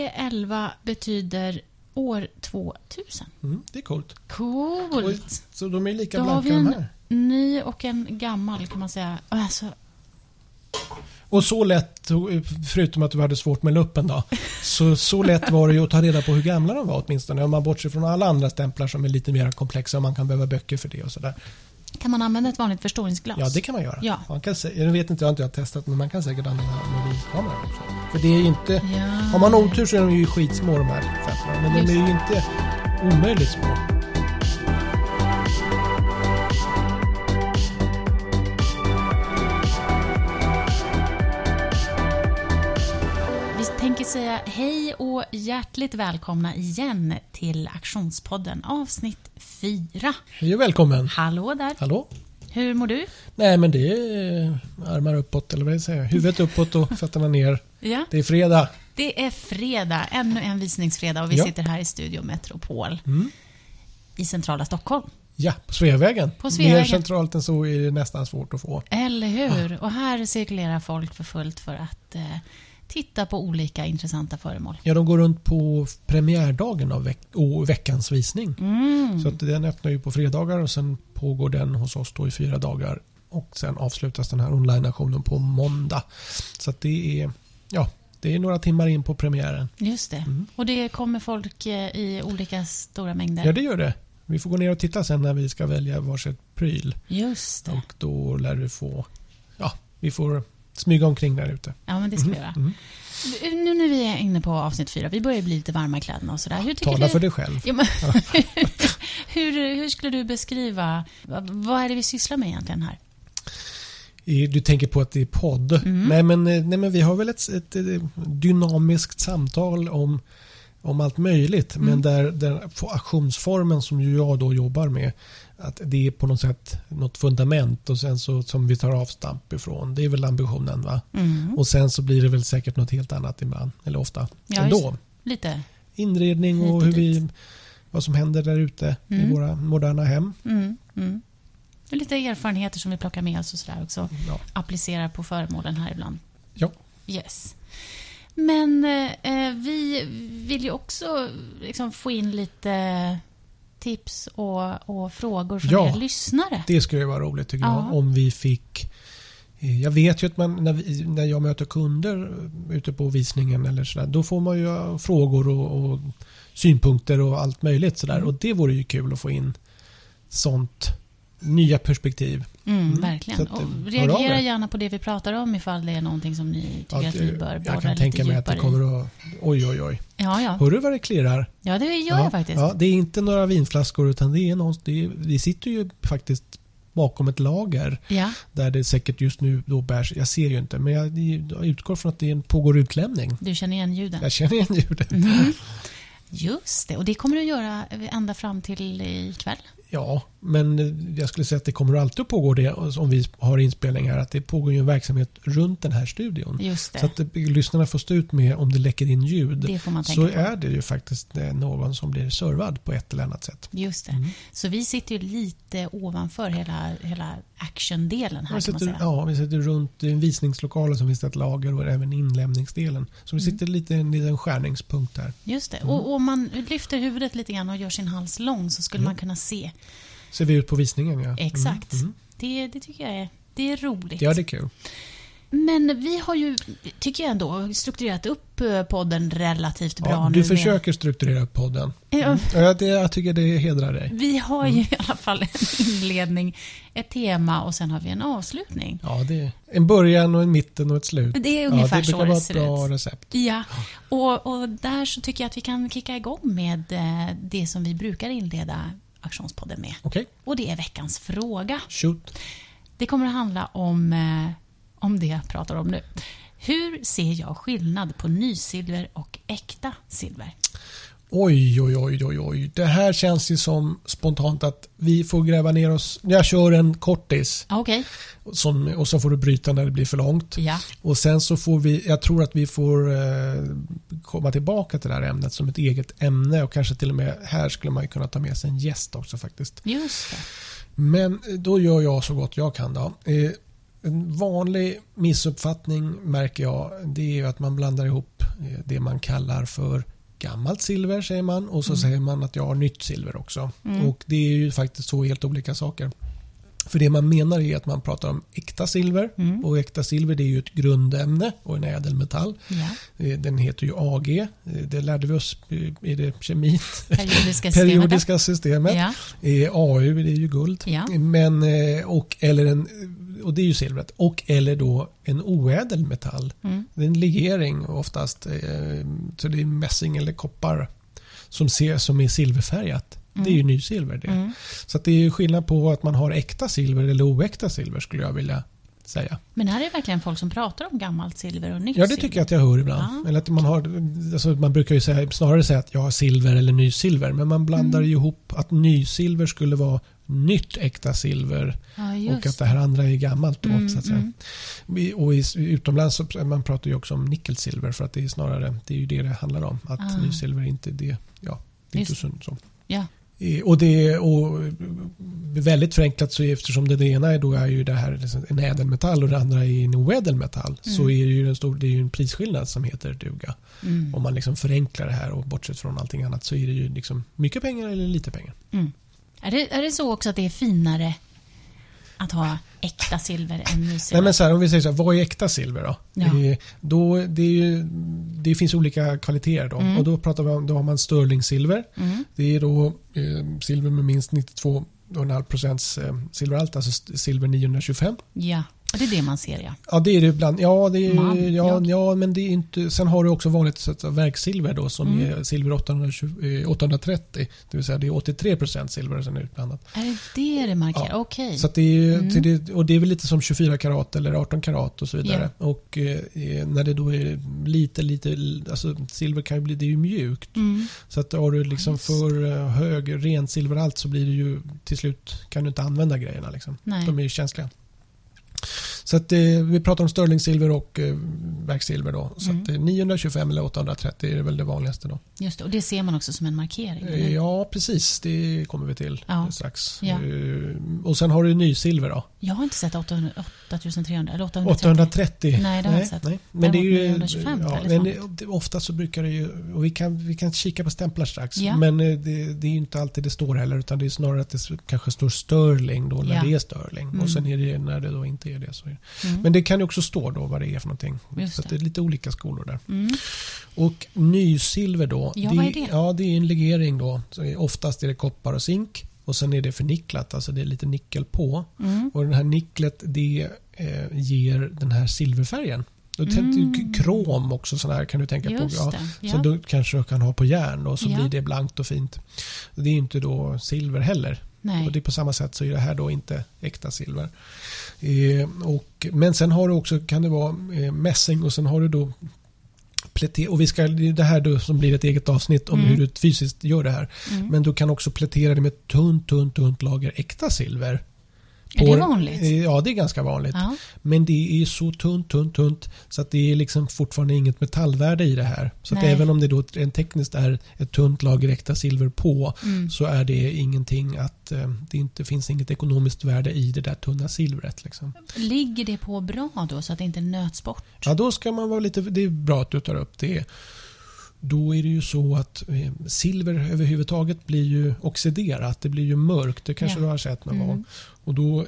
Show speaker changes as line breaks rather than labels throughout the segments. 11 betyder år 2000.
Mm, det är coolt.
Coolt!
Så de är lika
Då har
blanka
vi
de
en
här.
ny och en gammal kan man säga. Alltså,
Och så lätt, förutom att du hade svårt med luppen då, så, så lätt var det ju att ta reda på hur gamla de var åtminstone. Om man bortser från alla andra stämplar som är lite mer komplexa och man kan behöva böcker för det och sådär.
kan man använda ett vanligt förstoringsglas?
Ja, det kan man göra.
Ja.
Man kan, sä- jag vet inte, jag har inte jag testat, men man kan säkert använda mobilkamera också. För det är ju inte...
Ja.
Har man otur så är de ju skitsmå de här fötterna, men de är ju inte omöjligt små.
Vi tänker säga hej och hjärtligt välkomna igen till Aktionspodden avsnitt 4.
Hej och välkommen!
Hallå där!
Hallå?
Hur mår du?
Nej, men det är armar uppåt, eller vad jag säger. Huvudet uppåt och fötterna ner.
Ja,
Det är fredag.
det är fredag, ännu en visningsfredag och vi
Ja. Mm.
sitter här i Studio Metropol i centrala Stockholm.
Ja, på Sveavägen.
På Sveavägen.
Mer centralt än så är det nästan svårt att få.
Eller
Ah.
hur? Och här cirkulerar folk för fullt för att eh, titta på olika intressanta föremål.
Ja, de går runt på premiärdagen av veck och veckans visning.
Mm.
Så att den öppnar ju på fredagar och sen pågår den hos oss då i fyra dagar. Och sen avslutas den här online-auktionen på måndag. Så att det är, ja, det är några timmar in på premiären.
Just det.
Mm.
Och det kommer folk eh, i olika stora mängder.
Ja, det gör det. Vi får gå ner och titta sen när vi ska välja varsitt pryl.
Just det.
Och då lär du få, ja, vi får smyga omkring där ute.
Ja, men det
Mm-hmm.
ska vi göra. Nu när vi är inne på avsnitt fyra, vi börjar bli lite varma i kläderna och sådär. Hur tycker
Tala
du?
för dig själv.
Ja, men, hur, hur skulle du beskriva, vad, vad är det vi sysslar med egentligen här?
I- Du tänker på att det är podd.
Mm.
Nej, men, eh, nej men vi har väl ett, ett eh, dynamiskt samtal om, om allt möjligt.
Mm.
Men där, där få- aktionsformen som ju jag då jobbar med. Att det är på något sätt något fundament och sen så, som vi tar avstamp ifrån. Det är väl ambitionen va?
Mm.
Och sen så blir det väl säkert något helt annat ibland. Eller ofta.
Ja,
ändå.
just- Lite.
Inredning och
Hit
hur
och
vi, vad som händer där ute i våra moderna hem.
Mm, mm. Och Lite erfarenheter som vi plockar med oss och sådär också.
Ja.
Applicerar på föremålen här ibland.
Ja.
Yes. Men eh, vi vill ju också liksom, få in lite tips och, och frågor från
Ja.
er lyssnare.
Det skulle ju vara roligt tycker
Ja.
jag. Om vi fick... eh, Jag vet ju att man, när, vi, när jag möter kunder eh, ute på visningen eller sådär. Då får man ju frågor och, och synpunkter och allt möjligt sådär.
Mm.
Och det vore ju kul att få in sånt. Nya perspektiv.
Mm,
Mm.
Verkligen.
Så att, eh, hör
och
av
reagera
er.
gärna på det vi pratar om ifall det är någonting som ni tycker att,
Att,
vi
eh,
bör borra
jag kan
lite
tänka mig
djupare
att det
i.
kommer att... Oj, oj, oj.
Ja, ja.
Hör du vad det klirrar?
ja, det gör jag faktiskt.
Ja, det är inte några vinflaskor utan det är någon, det är, vi sitter ju faktiskt bakom ett lager.
Ja.
Där det säkert just nu då bärs, jag ser ju inte, men jag jag utgår från att det är en pågår utlämning.
Du känner igen ljuden? Mhm.
Jag känner igen ljudet.
Just det, och det kommer du göra ända fram till ikväll.
Ja, men eh, jag skulle säga att det kommer alltid att pågå det och om vi har inspelningar. Att det pågår ju en verksamhet runt den här studion.
Just det.
Så att eh, lyssnarna får stå ut med om det läcker in ljud.
Det får man tänka
så
på.
är det ju faktiskt eh, någon som blir servad på ett eller annat sätt.
Just
Mm.
det. Så vi sitter ju lite ovanför hela, hela actiondelen här
Vi
kan man
sitter,
säga.
ja, vi sitter runt i en visningslokal och så finns det ett lager och även inlämningsdelen. Så
Mm.
vi sitter lite i en liten skärningspunkt där.
Just det. Och om man lyfter huvudet lite grann och gör sin hals lång så
Mm.
skulle man kunna se.
Ser vi ut på visningen ja. Mm.
Exakt. Det, det tycker jag är, det är roligt.
Ja, det är kul.
Men vi har ju, tycker jag ändå, strukturerat upp eh, podden relativt bra
Ja,
nu.
du
med-
försöker Mm. strukturera podden.
Ja,
Ja, det, jag tycker det hedrar dig.
Vi har
Mm.
ju i alla fall en inledning, ett tema och sen har vi en avslutning.
Ja, det är en början och en mitten och ett slut.
Det är ungefär
ja, det
så
brukar
det
vara
ser
ett bra
ut.
recept.
Ja, och, och där så tycker jag att vi kan kicka igång med eh, det som vi brukar inleda Aktionspodden med.
Okej,
Och det är veckans fråga.
shoot.
Det kommer att handla om, eh, om det jag pratar om nu. Hur ser jag skillnad på nysilver och äkta silver?
Oj, oj, oj, oj, oj. Det här känns ju som spontant att vi får gräva ner oss. Jag kör en kortis
Ah, Okej,
som, och så får du bryta när det blir för långt.
ja.
Och sen så får vi, jag tror att vi får eh, komma tillbaka till det här ämnet som ett eget ämne och kanske till och med här skulle man ju kunna ta med sig en gäst också faktiskt.
Just det.
Men då gör jag så gott jag kan. Då. Eh, En vanlig missuppfattning märker jag det är ju att man blandar ihop det man kallar för gammalt silver säger man och så
Mm.
säger man att jag har nytt silver också.
Mm.
Och Det är ju faktiskt två helt olika saker. För det man menar är att man pratar om äkta silver
Mm.
och äkta silver det är ju ett grundämne och en ädelmetall.
Ja.
Eh, Den heter ju AG. Eh, Det lärde vi oss eh, i det kemin.
Periodiska systemet.
Periodiska systemet.
Ja.
Eh, AU det är ju guld.
Ja.
Men, eh, och, eller en, och det är ju silvret. Och eller då en oädel metall.
Mm.
Det är en legering oftast. eh, Så det är mässing eller koppar som, ser, som är silverfärgat. Det är ju nysilver det.
Mm.
Så att det är ju skillnad på att man har äkta silver eller oäkta silver skulle jag vilja säga.
Men här är det verkligen folk som pratar om gammalt silver och nytt
Ja, det tycker jag att jag hör ibland.
Ja.
Eller att man, har, alltså man brukar ju säga, snarare säga att jag har silver eller nysilver. Men man blandar
Mm.
ju ihop att nysilver skulle vara nytt äkta silver
silver. Ja,
och att
just.
det här andra är gammalt. Då,
Mm,
så att säga.
mm.
Vi- Och i, utomlands så man pratar ju också om nickelsilver för att det är snarare det, är ju det det handlar om. Att
Ah.
nysilver inte är det. Ja, det är inte
Just.
så, så.
Ja.
Eh, Och det och väldigt förenklat så är- eftersom det, det ena är, då är ju det här liksom en ädelmetall och det andra är en oädelmetall så
Mm.
är det ju en stor det är ju en prisskillnad som heter duga.
Mm.
Om man liksom förenklar det här och bortsett från allting annat så är det ju liksom mycket pengar eller lite pengar.
Mm. Är, det, är det så också att det är finare att ha äkta silver än
Nej,
nysilver?
men så här, om vi säger så här, vad är äkta silver då?
Ja.
Eh, då det, är ju, det finns olika kvaliteter då.
Mm.
Och då, pratar vi om, då har man sterlingsilver.
Mm.
Det är då eh, silver med minst 92,5 procents eh, silverhalt, alltså st- silver 925.
Ja, och det är det man ser ja.
Ja, det är det ibland. Ja, det är,
Man,
ja,
ja.
ja, men det är inte... Sen har du också vanligt så att säga verksilver då som
Mm.
är silver 820, eh, 830. Det vill säga det är 83 silver som är utblandat.
Är det det det markerar?
Ja.
Okej.
Så att det är, ju-
Mm.
till det, och det är väl lite som 24 karat eller 18 karat och så vidare. Och eh, när det då är lite, lite, alltså silver kan ju bli, det är ju mjukt.
Mm.
Så att har du liksom
Just.
för eh, hög ren silverhalt så blir det ju till slut kan du inte använda grejerna liksom.
Nej.
De är ju känsliga. Så att eh, vi pratar om sterlingsilver och eh, verksilver då. Så
Mm.
att eh, 925 eller 830 är väl det vanligaste då. Eh,
Just det, och det ser man också som en markering. eller?
Ja, precis. Det kommer vi till
Ja.
strax.
Ja.
Eh, Och sen har du nysilver då.
Jag har inte sett 800, 8300 eller 830.
830.
Nej, det har jag inte sett.
nej. Men det är ju...
925
ja,
eller
men
sånt.
det- det, ofta så brukar det ju... Och vi, kan, vi kan kika på stämplar strax.
Ja.
Men eh, det, det är ju inte alltid det står heller. Utan det är snarare att det s- kanske står Sterling då när
Ja.
det är Sterling.
Mm.
Och sen är det när det då inte är det. Så är det.
Mm.
Men det kan ju också stå då vad det är för någonting.
Just
så att
det.
det är lite olika skolor där.
Mm.
Och nysilver då.
Ja,
det,
vad är det?
Ja, det är en legering då. Så det är- oftast är det koppar och zink. Och sen är det förnicklat, alltså det är lite nickel på.
Mm.
Och det här nicklet det eh, ger den här silverfärgen. Då tänkte du
Mm.
k- krom också sån här kan du tänka
Just
på. Ja.
det. Ja.
Som du kanske kan ha på järn och så
Ja.
blir det blankt och fint. Det är ju inte då silver heller.
Nej.
Och det är på samma sätt så är det här då inte äkta silver. Eh, och, men sen har du också, kan det vara eh, mässing och sen har du då pläte- och vi ska, det är det här då som blir ett eget avsnitt om
Mm.
hur du fysiskt gör det här.
Mm.
Men du kan också plätera det med tunt, tunt, tunt lager äkta silver.
är
På-
det vanligt?
eh, Ja, det är ganska vanligt.
ja.
Men det är så tunt, tunt, tunt så att det är liksom fortfarande inget metallvärde i det här. Så att
Nej.
även om det då rent tekniskt är ett tunt lager äkta silver på
Mm.
så är det ingenting att eh, det inte finns inget ekonomiskt värde i det där tunna silvret. Liksom.
Ligger det på bra då så att det inte nöts bort?
Ja, då ska man vara lite, det är bra att du tar upp det. Då är det ju så att eh, silver överhuvudtaget blir ju oxiderat, det blir ju mörkt. Det kanske
Ja.
du har sett någon
Mm.
gång. Och, då,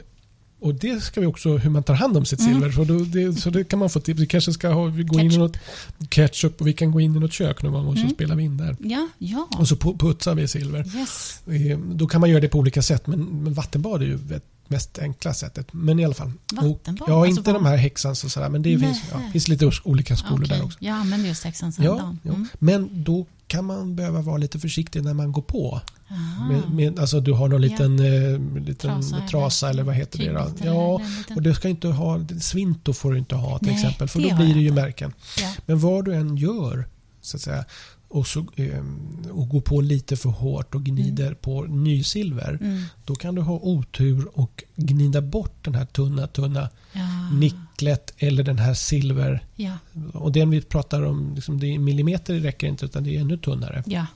och det ska vi också, hur man tar hand om sitt
Mm.
silver. Så, då, det, så det kan man få tips. Vi kanske ska ha, vi går in i
Ketchup.
något ketchup och vi kan gå in i något kök någon gång och så
Mm.
spelar vi in där.
Ja, ja.
Och så pu- putsar vi silver.
Yes.
Eh, Då kan man göra det på olika sätt men, men vattenbad är ju det mest enkla sättet. Men i alla fall.
Vattenbad?
ja,
Alltså
inte
vad-
de här häxans och sådär men det finns, ja,
Nähä.
finns lite os- olika skolor
Okej. Mm.
där också.
Jag använder just häxan
Ja,
sandal.
ja. Men då kan man behöva vara lite försiktig när man går på.
Aha.
Med, med, alltså du har någon
Ah. Ja.
liten, eh, liten
Trasa
trasa,
eller-
eller vad heter det? Då?
Tygbitar
Ja,
eller en liten-
och du ska inte ha, svinto får du inte ha till
Nej,
exempel för
det
då
har
blir
jag
det ju
inte.
märken.
ja.
Men vad du än gör så att säga, och, så, eh, och går på lite för hårt och gnider på nysilver
Mm.
då kan du ha otur och gnida bort den här tunna, tunna
ja.
nicklet eller den här silver.
Ja,
Och den vi pratar om, liksom det är millimeter räcker inte utan det är ännu tunnare.
ja.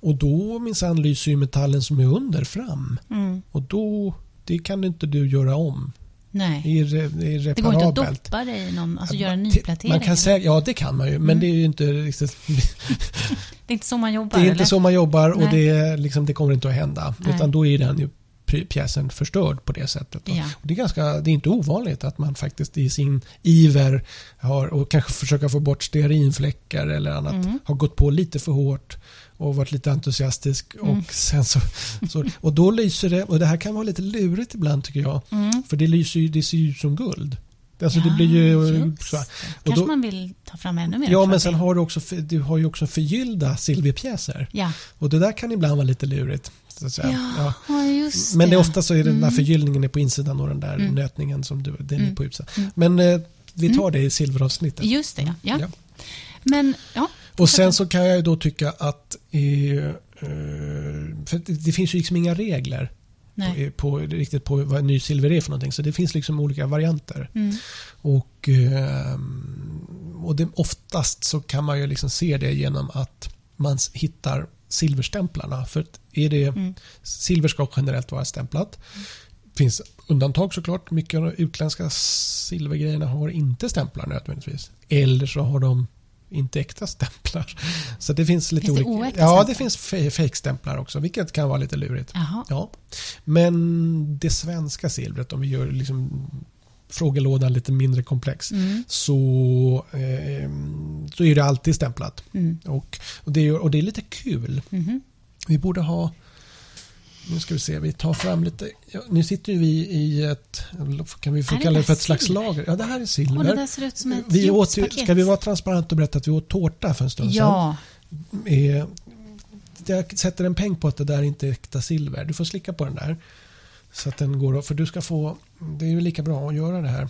Och då minsann lyser ju metallen som är under fram.
Mm.
Och då, det kan inte du göra om.
Nej.
Det är irre- det
Det
är
går inte att
irreparabelt.
doppa det i någon, alltså
Att
göra
man-
en
ti-
nyplatering.
Man kan
eller?
säga, ja, det kan man ju, men
Mm.
det är ju inte riktigt...
Det är inte så man jobbar,
Det är
eller?
inte så man jobbar och
Nej.
det, är liksom, det kommer inte att hända.
Nej.
Utan då är den ju pj- pjäsen förstörd på det sättet. då.
Ja.
Och det, är ganska, det är inte ovanligt att man faktiskt i sin iver har, och kanske försöka få bort stearinfläckar eller annat,
Mm.
har gått på lite för hårt och varit lite entusiastisk.
Mm.
Och, sen så, så, och då lyser det, och det här kan vara lite lurigt ibland tycker jag,
Mm.
för det, lyser ju, det ser ju ut som guld. Alltså det
Ja,
blir ju...
just
Så,
det.
här. och
Kanske
då-
man vill ta fram ännu mer.
ja,
för
men
att
sen
det-
har du också, för- du har ju också förgyllda silverpjäser.
Ja,
Och det där kan ibland vara lite lurigt. Så att säga. Ja.
ja. ja just
Men det är
ja.
ofta så är det den där
Mm.
förgyllningen är på insidan och den där
Mm.
nötningen som du, den är
Mm.
på utsidan.
Mm.
Men eh, vi tar det i silveravsnittet.
Just det, ja. ja.
Ja.
Men, ja.
Och sen så kan jag ju då tycka att eh, eh, för det, det finns ju liksom inga regler
Nej.
på, på, riktigt på vad ny silver är för någonting. Så det finns liksom olika varianter.
Mm.
Och, eh, och det, oftast så kan man ju liksom se det genom att man s- hittar silverstämplarna. För att är det,
Mm.
Silver ska generellt vara stämplat. finns undantag såklart. Mycket av de utländska silvergrejerna har inte stämplar nödvändigtvis. Eller så har de inte äkta stämplar. Så det finns lite
Finns det
olika.
oäkta
ja,
stämplar?
det finns fe- fake-stämplar också, vilket kan vara lite lurigt.
Jaha.
Ja. Men det svenska silvret, om vi gör liksom frågelådan lite mindre komplex,
Mm.
så, eh, så är det alltid stämplat.
Mm.
Och, och, det är, och det är lite kul.
Mhm.
Vi borde ha... Nu ska vi se, vi tar fram lite... Ja, nu sitter ju vi i ett... Kan vi få
Är det
kalla det för
där
ett slags
silver?
lager? Ja, det här är
Och det
silver.
där ser ut som ett
vi åt ju,
juicepaket.
ska vi vara transparenta och berätta att vi åt tårta för en stund
Ja,
sedan? Eh, Jag sätter en peng på att det där inte är äkta silver. Du får slicka på den där. Så att den går att- För du ska få... Det är ju lika bra att göra det här.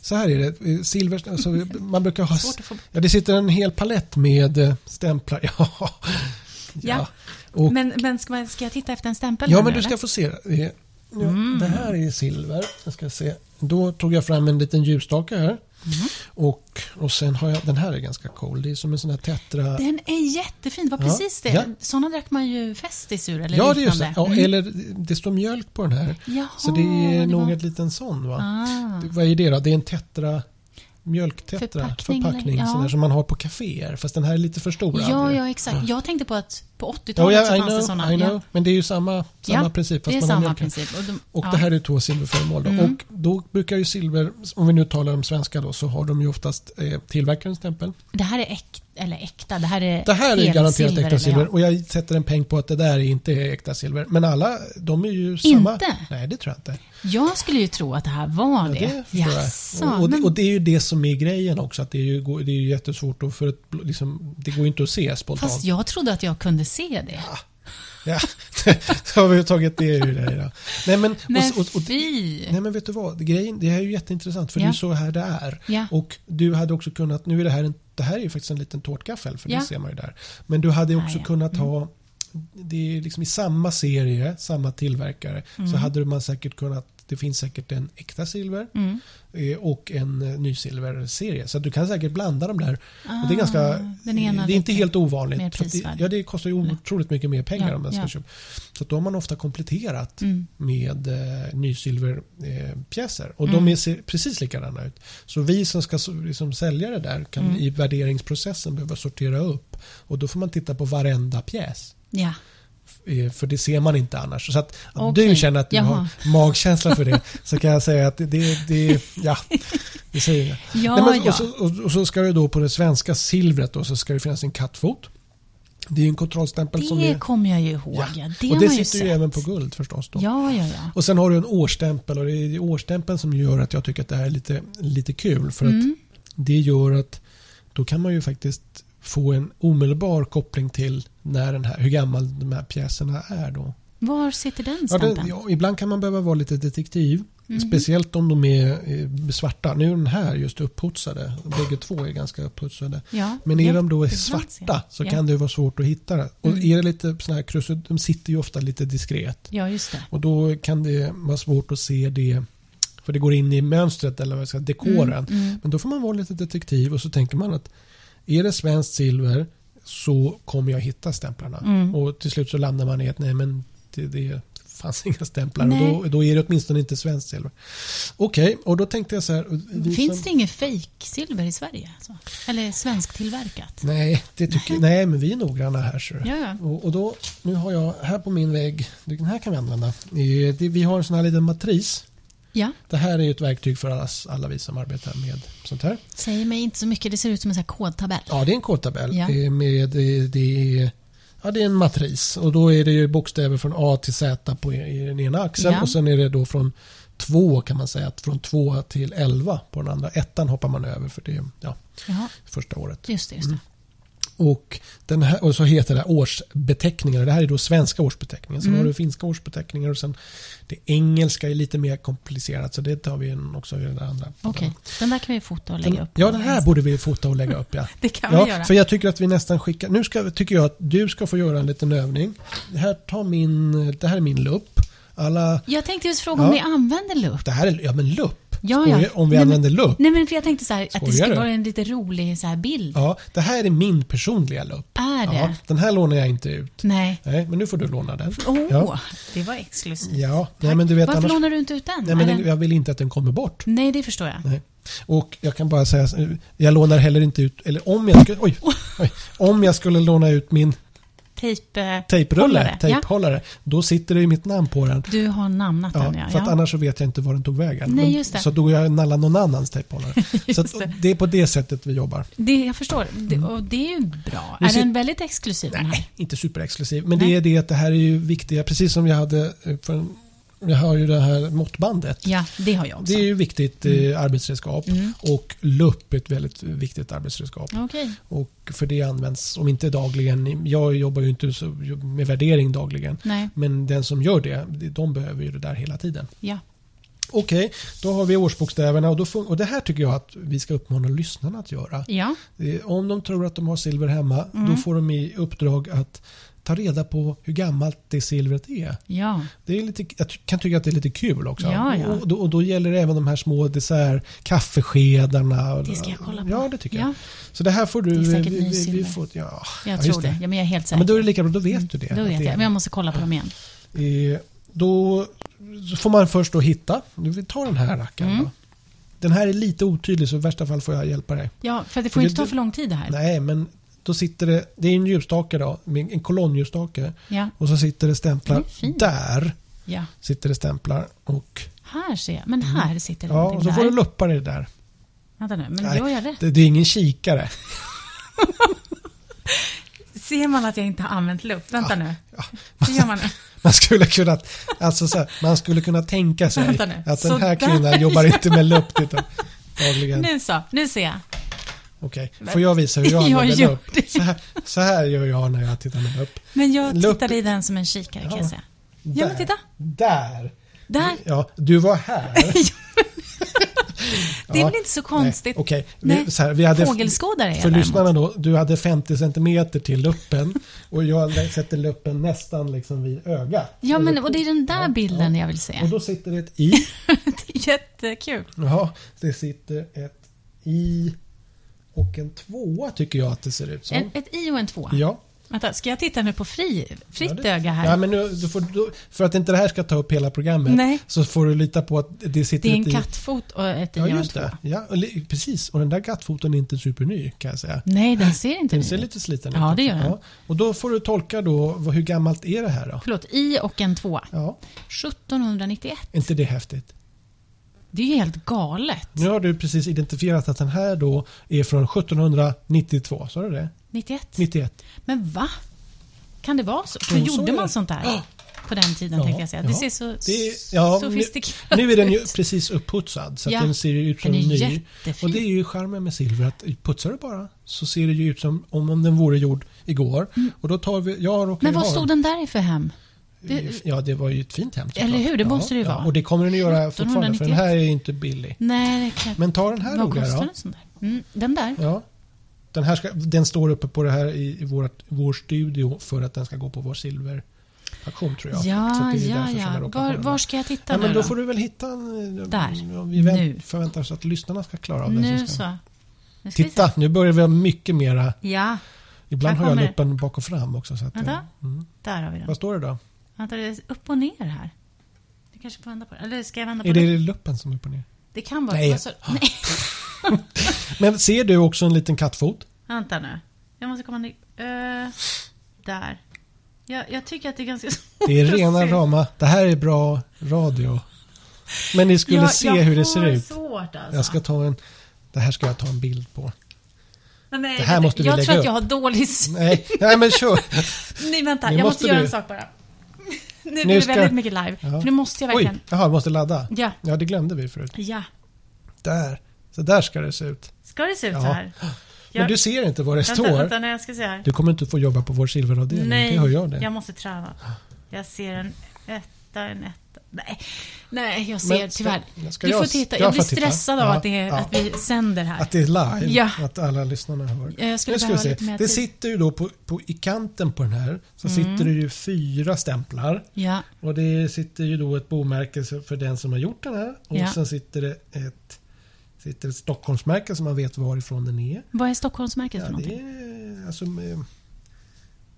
Så här är det. eh, Silver... Alltså, man brukar ha...
svårt att få...
Ja, det sitter en hel palett med eh, stämplar. Ja.
Ja.
Och
Men, men ska, man, ska jag titta efter en stämpel?
Ja,
här
men
nu,
du ska
eller?
få se. Eh, Nu,
Mm.
Det här är silver. Jag ska se. Då tog jag fram en liten ljusstake här.
Mm.
Och, och sen har jag, den här är ganska cool. Det är som en sån här tetra...
Den är jättefin, det var
Ja,
precis det.
ja.
Sådana drack man ju Festis ur eller
ja, det är just
liknande. Mm.
det. Ja, Eller det står mjölk på den här.
Jaha,
Så det är nog
var-
en liten sån va?
Ah.
Det- Vad är det då? Det är en tetra... Mjölktetra
Förpackning,
förpackning,
ja.
sån där som man har på kaféer. Fast den här är lite för stor.
Ja,
Andrea.
ja, exakt. Jag tänkte på att på
Ja,
80-talet
ja,
så
I
fanns
know,
det sådana.
I know.
Ja,
Men det är ju samma, samma
Ja,
princip. fast
det är
man har
samma
mjölk.
princip. Och, de,
Och
ja.
det här är två silverföremål. Då.
Mm.
Och då brukar ju silver, om vi nu talar om svenska då, så har de ju oftast eh, tillverkarens stämpel.
det här är äkta, eller äkta, det här är
Det här är
helsilver,
garanterat
eller ja.
äkta silver och jag sätter en peng på att det där inte är äkta silver. Men alla, de är ju samma.
Inte?
Nej, det tror jag inte.
Jag skulle ju tro att det här var
Ja,
det.
förstår jag.
Jaså,
och, och, det-
men-
och det är ju det som är grejen också, att det är ju, går- det är ju jättesvårt att, för att, liksom, det går ju inte att se spontant.
Fast jag trodde att jag kunde se det.
Ja, så har vi ju tagit det ur det idag. Nej men,
Men
och, och, och,
fy!
Nej men vet du vad, grejen, det här är ju jätteintressant för
Ja.
det är ju så här det är.
Ja.
Och du hade också kunnat, nu är det här en, det här är ju faktiskt en liten tårtgaffel för
Ja.
det ser man ju där. Men du hade ju också
Ah, ja. Mm.
kunnat ha, det är liksom i samma serie, samma tillverkare, så hade man säkert kunnat det finns säkert en äkta silver
Mm.
eh, och en eh, nysilverserie. Så att du kan säkert blanda de där. och det är ganska,
Ah, den ena
det är inte
lite
helt ovanligt.
mer
för att det,
prisvärd.
ja, det kostar ju otroligt mycket mer pengar
Ja,
om man ska
ja.
köpa. Så att då har man ofta kompletterat
Mm.
med eh, nysilverpjäser. Eh, pjäser. och
Mm.
de är, ser precis likadana ut. Så vi som ska så- liksom, sälja det där kan
Mm.
i värderingsprocessen behöva sortera upp. Och då får man titta på varenda pjäs.
Ja.
F- eh, För det ser man inte annars. Så att, att
Okej.
du känner att du
Jaha.
har magkänsla för det så kan jag säga att det, det, det ja, det säger jag.
Ja,
Nej, men,
ja.
och, så, och, och så ska det då på det svenska silvret då, så ska det finnas en kattfot. Det är ju en kontrollstämpel som
det
är...
kommer jag ju ihåg. Ja. Det
och
har
det
man ju
sitter ju
sett.
även på guld förstås. Då.
Ja, ja, ja.
Och sen har du en årsstämpel och det är årsstämpeln som gör att jag tycker att det här är lite, lite kul. För att
Mm.
det gör att då kan man ju faktiskt få en omedelbar koppling till när den här, hur gammal de här pjäserna är. Då.
Var sitter den
Ja,
stämpeln?
det, ja, ibland kan man behöva vara lite detektiv.
Mhm.
Speciellt om de är eh, svarta. Nu är den här just uppputsade. Bägge två är ganska uppputsade.
Ja,
Men är
ja.
de då
ibland ser jag.
svarta så
Ja.
kan det vara svårt att hitta det. Och
Mm.
är det lite sådana här krusud, de sitter ju ofta lite diskret.
Ja, just det.
Och då kan det vara svårt att se det för det går in i mönstret eller vad jag ska, dekoren.
Mm, mm.
Men då får man vara lite detektiv och så tänker man att är det svenskt silver så kommer jag hitta stämplarna.
Mm.
Och till slut så landar man i att nej men det, det är fanns inga stämplar.
Nej.
Och då, då är det åtminstone inte svenskt silver. Okej, och då tänkte jag så här. vi
Finns
som-
det inget fejksilver i Sverige? Alltså? Eller svensktillverkat?
Nej, det tycker, nej, men vi är noggranna här. Så.
Ja, ja.
Och, och då, nu har jag här på min vägg, den här kan vi använda. Eh, det, vi har en sån här liten matris.
ja.
Det här är ju ett verktyg för alla, alla vi som arbetar med sånt här.
Säger mig inte så mycket. Det ser ut som en sån här kodtabell.
Ja, det är en kodtabell.
Ja.
Det, är med, det, det, är, ja, det är en matris och då är det ju bokstäver från A till Z på i den ena axeln
Ja.
och sen är det då från två kan man säga, att från två till elva på den andra. Ettan hoppar man över för det är ja,
Ja,
första året.
just det. Just det.
Och, den här, och så heter det årsbeteckningar. Det här är då svenska årsbeteckningar.
Mm.
Sen har du finska årsbeteckningar och sen det engelska är lite mer komplicerat så det tar vi en- också i den där andra.
Okej, den där kan vi fota och lägga upp.
Ja,
på
den här
Insta.
borde vi fota och lägga upp. Ja.
Det kan vi
Ja,
göra.
för jag tycker att vi nästan skickar... Nu ska, tycker jag att du ska få göra en liten övning. Det här, tar min, det här är min lupp. Alla...
Jag tänkte just fråga
Ja.
om ni använder lupp.
Det här är... Ja, men lupp.
Ja,
Skojar-
ja.
Om vi
Nej, men-
använder lupp.
Nej, men för jag tänkte så här, att det
Skojar
skulle
du?
vara en lite rolig så här bild.
Ja, det här är min personliga lupp.
Är det?
Ja, den här lånar jag inte ut.
Nej.
Nej, men nu får du låna den.
Åh,
Ja,
det var exklusivt.
ja. Nej, men du vet
Varför
annars...
lånar du inte ut den?
Nej, men
Är
den-
den-
jag vill inte att den kommer bort.
Nej, det förstår jag.
Nej. Och jag kan bara säga, så- jag lånar heller inte ut, eller om jag skulle, oj, oj, om jag skulle låna ut min
Tejp... eh,
tejprulle,
Hållare, ja.
tejphållare, då sitter det ju mitt namn på den.
Du har namnat
Ja,
den, ja.
för att
ja.
annars så vet jag inte var den tog vägen.
Nej,
Men-
just det.
Så då går jag och nallar någon annans tejphållare. så att,
det.
det är på det sättet vi jobbar.
Det, jag förstår. Det, och det är ju bra.
Nu
Är
sit-
den väldigt exklusiv? den här?
Mm. Nej, inte superexklusiv. Men
Nej.
det är det att det här är ju viktiga, precis som jag hade, eh, för, en- jag har ju det här måttbandet.
Ja, det har jag också.
Det är ju viktigt
Mm.
eh, arbetsredskap och lupp är ett väldigt viktigt arbetsredskap.
Okej.
Och för det används, om inte dagligen, jag jobbar ju inte så, med värdering dagligen.
Nej,
Men den som gör det, de behöver ju det där hela tiden.
ja.
Okej, då har vi årsbokstäverna och, då fun- och det här tycker jag att vi ska uppmana lyssnarna att göra.
Ja,
Eh, Om de tror att de har silver hemma,
Mm.
då får de i uppdrag att ta reda på hur gammalt det silvret är.
ja.
Det är lite, jag ty- kan tycka att det är lite kul också.
Ja, ja.
Och, då, och då gäller det även de här små dessert, kaffeskedarna. och-
Det ska jag kolla på.
Ja, det tycker
Ja.
jag. Så det här får du...
Det är säkert
vi,
ny
vi, vi
silver.
får, ja,
Jag
ja, just
tror det. Ja, men jag är helt
Ja,
säker.
men då är det lika bra, då vet du det.
Då
att
vet
det är
jag. Men jag måste kolla på dem igen.
Eh, Då får man först då hitta. Nu vi tar den här rackaren.
Mm.
Då. Den här är lite otydlig så i värsta fall får jag hjälpa dig.
Ja, för det
För
får ju
det-
inte ta för lång tid det här.
Nej, men då sitter det... Det är en ljusstake då, med en kolonnljusstake.
Ja,
Och så sitter det stämplar
Den är fin.
där.
ja.
Sitter det stämplar och...
Här ser jag. Men här sitter det
Mm. Ja, och så
någonting
får du
där.
luppa det där.
Vänta nu, men
Nej,
gör jag rätt?
Det, det är ingen kikare.
Ser man att jag inte har använt lupp? Vänta nu.
Ja,
Hur gör man nu?
Man skulle kunna, alltså så här, man skulle kunna tänka sig
Vänta nu.
att den här
Sådär,
kvinnan jobbar inte med lupp utan dagligen.
Nu så, nu ser jag.
Okej, får jag visa hur jag
Jag
använder
gör
lupp?
det.
Så här, så här gör jag när jag tittar med lupp.
Men jag
Lupp-
tittade i den som en kikare kan
Ja.
jag säga. Ja, men
Där.
titta.
Där!
Där.
Ja, du var här.
Det är
Ja.
väl inte så konstigt?
Nej, Okej, vi,
Nej.
så här, vi hade...
Fågelskådare är jag
För
däremot.
lyssnarna då, du hade 50 centimeter till luppen och jag sätter luppen nästan liksom vid ögat.
Ja, men
Eller-
och det är den där bilden jag vill se.
Och då sitter det ett i.
Det är jättekul.
Ja, det sitter ett i och en tvåa tycker jag att det ser ut som.
En, ett i och en tvåa.
Ja.
Vänta, ska jag titta nu på fri, fritt
Ja, det-
öga här?
Ja, men nu, du får, du, för att inte det här ska ta upp hela programmet
Nej.
så får du lita på att det sitter
det är en
ett i-
kattfot och ett i
Ja,
och en
just
tvåa.
det. Ja, och li- precis. Och den där kattfoten är inte superny kan jag säga.
Nej, den ser inte
Den
ny
ser
ut.
lite sliten
Ja,
ut.
det gör den.
Och då får du tolka då, vad- hur gammalt är det här då?
Förlåt, i och en tvåa.
Ja,
1791.
är inte det häftigt?
Det är ju helt galet.
Nu har du precis identifierat att den här då är från 1792, sa du det?
91.
91.
Men va? Kan det vara så? För
Jo, så
gjorde
är
man
det.
sånt där på den tiden
Ja,
tänkte jag säga. Det
ja.
ser så
Det är, ja,
sofistikerat
nu, nu är den ju
ut.
precis uppputsad så
Ja,
att den ser ju ut som
den är
ny.
jättefin.
Och det är ju charmen med silver att putsar du bara så ser det ju ut som om, om den vore gjord igår. Och då tar vi, jag råkar
Mm. Men
ju
vad
ha
stod den där i för hem? Det-
Ja, det var ju ett fint hem. såklart.
Eller hur? Det måste det ju
ja,
vara.
Och det kommer den att göra fortfarande för den
1791.
här är ju inte billig.
Nej, det kan
Men ta den här
Vad
roliga
kostar
då.
en sån där? Mm, den där?
Ja. Den, här ska, den står uppe på det här i, i vårt, vår studio för att den ska gå på vår silveraktion tror jag. Så
Ja,
att det är
ja,
därför som
ja.
jag råkar ha
Var,
den
var
här.
ska jag titta
Ja,
nu
men då
då?
får du väl hitta en... eh,
Där.
Vi vänt,
Nu.
förväntar oss att lyssnarna ska klara av det.
Nu
som ska-
så. Nu ska vi
Titta, nu börjar vi ha mycket mera.
se. Ja,
Ibland
Här
har jag
kommer det.
luppen bak och fram också. Så att, eh,
vänta. Där har vi den.
vad står det då?
Vänta, det är upp och ner här. Du kanske får vända på det. Eller ska jag vända på
Är det luppen som är upp och ner?
Det kan vara...
Nej.
Alltså, nej.
Men ser du också en liten kattfot?
Vänta nu. Jag måste komma ner. Eh, där. Jag, jag tycker att det är ganska svårt
Det är
att
rena
se.
rama. Det här är bra radio. Men ni skulle
Jag-
se hur det ser
Jag har
ut.
svårt alltså.
Jag ska ta en... Det här ska jag ta en bild på.
Men nej,
det här måste vi
jag
lägga
tror att
upp.
jag har dålig syn.
Nej, nej men kör.
Nej, vänta.
Nu
jag måste
måste
göra
du-
en sak bara. Nu, blir det
ska-
väldigt mycket live.
Ja.
För nu måste jag verkligen...
Oj, jaha, jag måste ladda.
Ja.
Ja, det glömde vi förut.
Ja.
Där. Så där ska det se ut.
Ska det se ut
Ja.
så här?
Men
Jag-
du ser inte vad det
Vänta,
står.
vänta, nej, jag ska se här.
Du kommer inte få jobba på vår silveravdelning.
Nej,
Det hör jag det.
jag måste träna. Jag ser en etta, en etta. Nej, nej jag ser
Men ska-
tyvärr.
ska
du
jag-
får titta.
ska
Jag,
jag
blir
få titta?
stressad av
Ja,
att, det är,
ja.
att vi sänder här.
Att det är live,
Ja.
att alla lyssnarna hör.
Ja, jag skulle
Nu ska
behöva
vi se.
lite mer
det
tid. Mm.
sitter ju då på, på, i kanten på den här, så sitter det ju fyra stämplar.
Ja,
Och det sitter ju då ett bomärke så- för den som har gjort den här. Och
Ja.
sen sitter det ett, sitter ett Stockholmsmärke som man vet varifrån den är.
vad är Stockholmsmärket
Ja,
för
det
någonting?
är alltså... eh,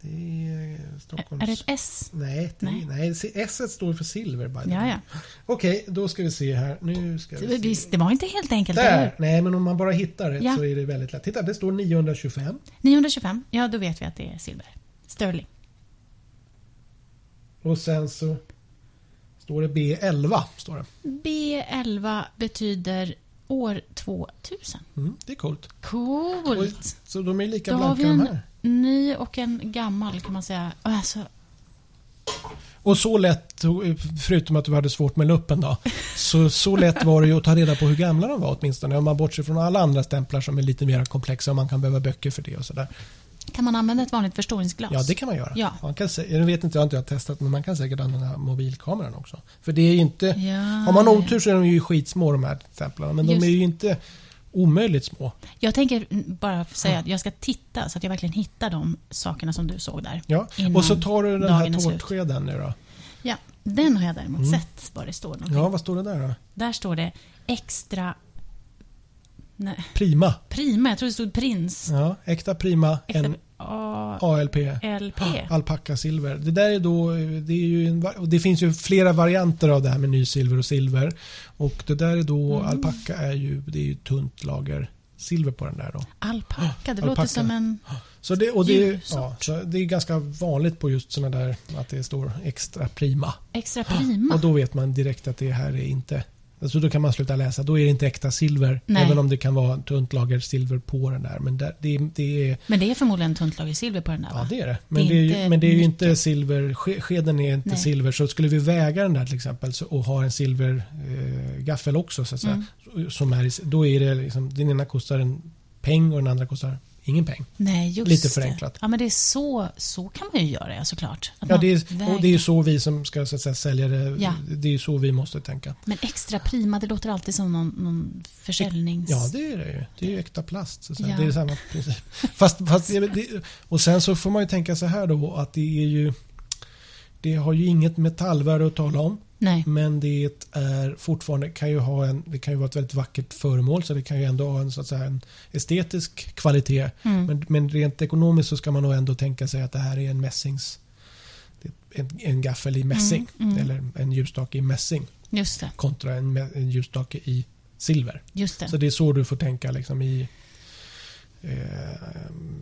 Det är Stockholms...
Är det ett S?
Nej, det,
Nej.
nej. nej, se- S står för silver. By the
Ja,
way.
ja.
Okej, då ska vi se här. Nu ska vi se.
Visst, det var inte helt enkelt, eller
Där!
hur?
Nej, men om man bara hittar rätt
Ja.
så är det väldigt lätt. Titta, det står 925.
925, ja då vet vi att det är silver. Sterling.
Och sen så står det B11. Står det.
B11 betyder år 2000.
Mm, det är coolt. Oj,
Coolt!
så de är lika
Då har vi
blanka de
en
här.
ny och en gammal kan man säga. Alltså,
Och så lätt, förutom att du hade svårt med luppen då, så, så lätt var det ju att ta reda på hur gamla de var åtminstone. Om man bortser från alla andra stämplar som är lite mer komplexa och man kan behöva böcker för det och sådär.
kan man använda ett vanligt förstoringsglas?
Ja, det kan man göra.
Ja.
Man kan, sä- jag vet inte, jag har inte jag testat, men man kan säkert använda mobilkameran också. För det är ju inte...
Ja.
Har man otur så är de ju skitsmå de här stämplarna, men
Just.
de är ju inte omöjligt små.
Jag tänker bara säga att jag ska titta så att jag verkligen hittar de sakerna som du såg där.
Ja.
Innan
Och så tar du den här
dagen är slut.
tårtskeden nu då.
Ja, den har jag däremot sett vad det står. någonting.
Mm. Ja, vad står det där då?
Där står det extra... Nej,
Prima.
prima, jag tror det stod prins.
Ja, äkta prima,
Extra...
en
ALP.
ALP. Alpaka silver. Det där är då, det, är ju en, va- och det finns ju flera varianter av det här med nysilver och silver. Och det där är då,
Mm.
alpaka är ju, det är ju tunt lager silver på den där då.
Alpaka, det
Alpaka.
låter som en...
Så det, och det,
Djursort.
ja, så det är ganska vanligt på just sådana där att det står extra prima.
Extra prima.
Och då vet man direkt att det här är inte... Alltså då kan man sluta läsa. Då är det inte äkta silver.
Nej.
Även om det kan vara tunt lager silver på den där. Men där, det, det är...
Men det är förmodligen tunt lager silver på den där
Ja,
va?
det är det. Men
Det
det
är
är, ju,
inte
men det är ju
mycket.
inte silver. ske- Skeden är inte
Nej.
silver. Så skulle vi väga den där till exempel så, och ha en silvergaffel eh, gaffel också. Så att
Mm.
säga, som är, i s- då är det liksom, den ena kostar en peng och den andra kostar ingen peng.
Nej, just
Lite
det.
förenklat.
Ja, men det är så, så kan man ju göra ja, såklart. Att
Ja,
man
det är, och det är
väger.
ju så vi som ska så att säga, sälja det.
Ja.
Det är ju så vi måste tänka.
Men extra prima, det låter alltid som någon, någon försäljnings...
Ja, det är det ju. Det är ju äkta plast. Så att säga.
Ja.
Det är samma princip. Fast, fast, det- det, och sen så får man ju tänka så här då att det är ju det har ju inget metallvärde att tala om.
Nej.
Men det är fortfarande kan ju ha en, det kan ju vara ett väldigt vackert föremål så det kan ju ändå ha en, så att säga, en estetisk kvalitet.
Mm.
Men, men rent ekonomiskt så ska man nog ändå tänka sig att det här är en mässings det är en, en gaffel i mässing
Mm, mm.
eller en ljusstake i mässing
Just det,
kontra en, mä- en ljusstake i silver.
just det.
Så det är så du får tänka liksom, i eh,